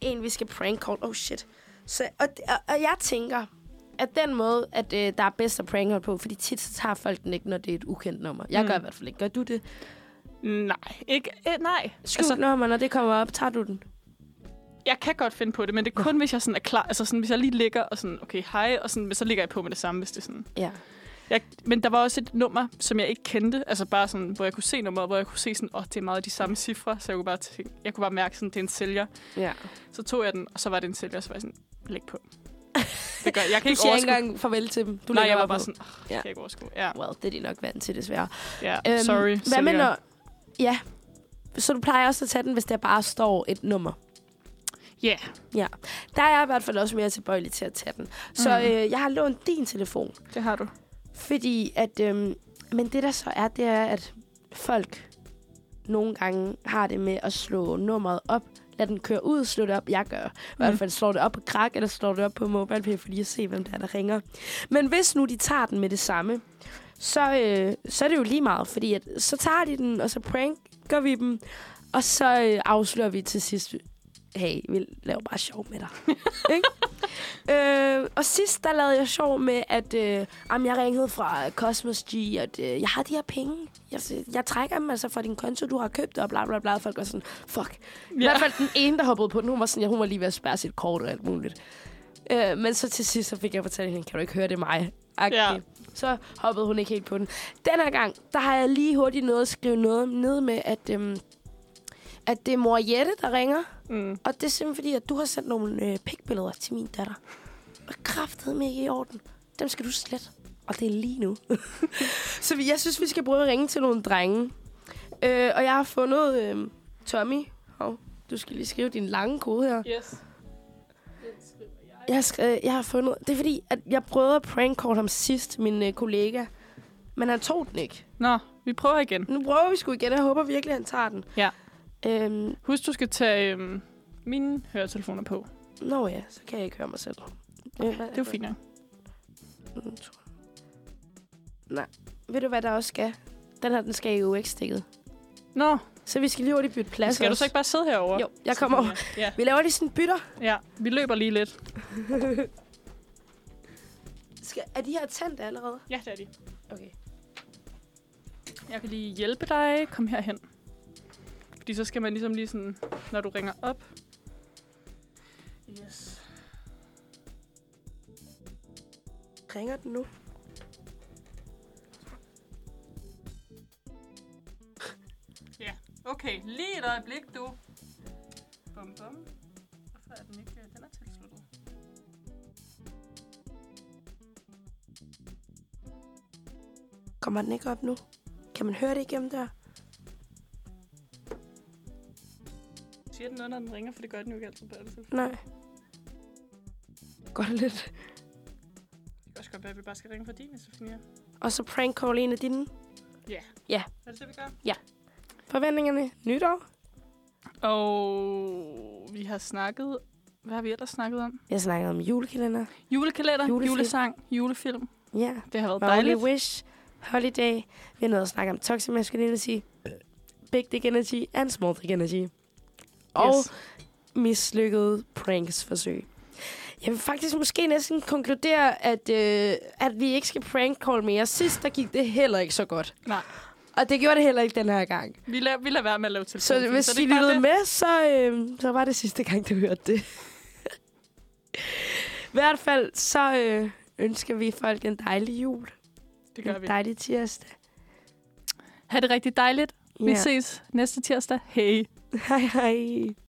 en, vi skal prank call. Oh shit. Så, og, og, og jeg tænker, at den måde, at øh, der er bedst at prank call på, fordi tit så tager folk den ikke, når det er et ukendt nummer. Jeg mm. gør i hvert fald ikke. Gør du det?
Nej, ikke, eh, nej.
Skjult altså, nummer, når det kommer op, tager du den.
jeg kan godt finde på det, men det er kun, hvis jeg sådan er klar. Altså sådan, hvis jeg lige ligger og sådan, okay, hej, og sådan, men så ligger jeg på med det samme, hvis det er sådan.
Ja.
Jeg, men der var også et nummer, som jeg ikke kendte, altså bare sådan, hvor jeg kunne se nummeret, hvor jeg kunne se sådan, åh, oh, det er meget de samme cifre, så jeg kunne bare, tænke, jeg kunne bare mærke sådan, det er en sælger.
ja.
Så tog jeg den, og så var det en sælger, og så var jeg sådan, læg på. Det gør, jeg kan
Du
ikke
siger ikke
overskue.
engang farvel til dem. Du
Nej,
lægger
jeg var
på.
bare sådan, oh,
Ja.
ja. kan ikke overskue. Ja,
Well, det er de nok vant til, desværre.
ja. sorry,
Øhm, Hvad med
sælger.
når... Ja. Så du plejer også at tage den, hvis der bare står et nummer.
Ja,
Der er jeg i hvert fald også mere tilbøjelig til at tage den. Så
Mm.
øh, jeg har lånt din telefon.
det har du.
Fordi at, øhm, men det der så er, det er, at folk nogle gange har det med at slå nummeret op. Lad den køre ud, slå det op. Jeg gør. I hvert fald slår det op på krak, eller slår det op på MobilePay, fordi jeg ser, hvem der er, der ringer. Men hvis nu de tager den med det samme, så, øh, så er det jo lige meget, fordi at, så tager de den, og så pranker vi dem, og så øh, afslører vi til sidst, hey, vi laver bare sjov med dig. Øh, og sidst, der lavede jeg sjov med, at øh, jamen, jeg ringede fra Cosmos G, at øh, jeg har de her penge. Jeg, jeg trækker dem altså fra din konto, du har købt, og bla bla bla. Folk var sådan, fuck. Ja. I
Ja.
hvert fald den ene, der hoppede på den, hun var sådan, ja, hun var lige ved at spærre sit kort og alt muligt. Øh, men så til sidst, så fik jeg fortalt hende, kan du ikke høre det er mig?
Ja.
Ja. Så hoppede hun ikke helt på den. Den her gang, der har jeg lige hurtigt noget at skrive noget ned med, at, øhm, at det er mor Jette, der ringer.
Mm.
Og det er simpelthen fordi, at du har sendt nogle øh, pikbilleder til min datter. Og kraftedeme ikke i orden. Dem skal du slet. Og det er lige nu. [laughs] så vi- jeg synes, vi skal prøve at ringe til nogle drenge. Øh, og jeg har fundet øh, Tommy. Hov, du skal lige skrive din lange kode her.
Yes.
Jeg har, skrevet, jeg har fundet... Det er fordi, at jeg prøvede at prankcall ham sidst, min øh, kollega. Men han tog den ikke.
Nå, vi prøver igen.
Nu prøver vi sgu igen, og jeg håber virkelig, at han tager den.
Ja.
Øhm,
Husk, du skal tage øhm, mine høretelefoner på.
nå ja, så kan jeg ikke høre mig selv. Øh, hvad-
Det er jo fint nok.
Mm, tror jeg. Nej. Ved du, hvad der også skal? Den her, den skal i UX-stikket.
Nå,
Så vi skal lige hurtigt bytte plads
skal du
også.
så ikke bare sidde herovre?
Jo, jeg kommer over.
Ja,
Vi laver lige sådan bytter.
ja, vi løber lige lidt.
Skal, er de her tændt allerede?
Ja, det er de.
Okay.
Jeg kan lige hjælpe dig. Kom herhen. Fordi så skal man ligesom lige sådan, når du ringer op. Yes.
Ringer den nu?
Okay, lige et øjeblik, du. Bum, bum. Hvorfor er den ikke... øh, Den er tilsluttet.
Kommer den ikke op nu? Kan man høre det igennem der?
Siger den noget, når den ringer? For det gør den jo ikke altid på alle telefoner.
Nej. Godt lidt.
Det kan også godt være, at vi bare skal ringe for din, Sofia.
Og så prank call en af dine
Er det det, vi gør?
forventningerne. Nytår.
Og vi har snakket... Hvad har vi ellers snakket om?
Jeg snakkede om julekalender.
Julekalender,
Julefilm.
julesang, julefilm.
Ja.
Det har været
Only
dejligt.
Wish. Holiday. Vi har noget at snakke om toxic masculinity. Big dick energy and small dick energy. Og
Yes.
mislykkede pranks forsøg. Jeg vil faktisk måske næsten konkludere, at, øh, at vi ikke skal prank call mere. Sidst der gik det heller ikke så godt.
Nej.
Og det gjorde det heller ikke den her gang.
Vi lader, vi lader være med at lave telefon.
Så hvis I
det er bare
lyttede
det.
med, så, øh, så var det sidste gang, du hørte det. [laughs] I hvert fald, så øh, ønsker vi folk en dejlig jul.
Det gør
En
vi.
dejlig tirsdag.
Ha' det rigtig dejligt. Vi
Ja. [laughs]
ses næste tirsdag. Hej.
Hej hej.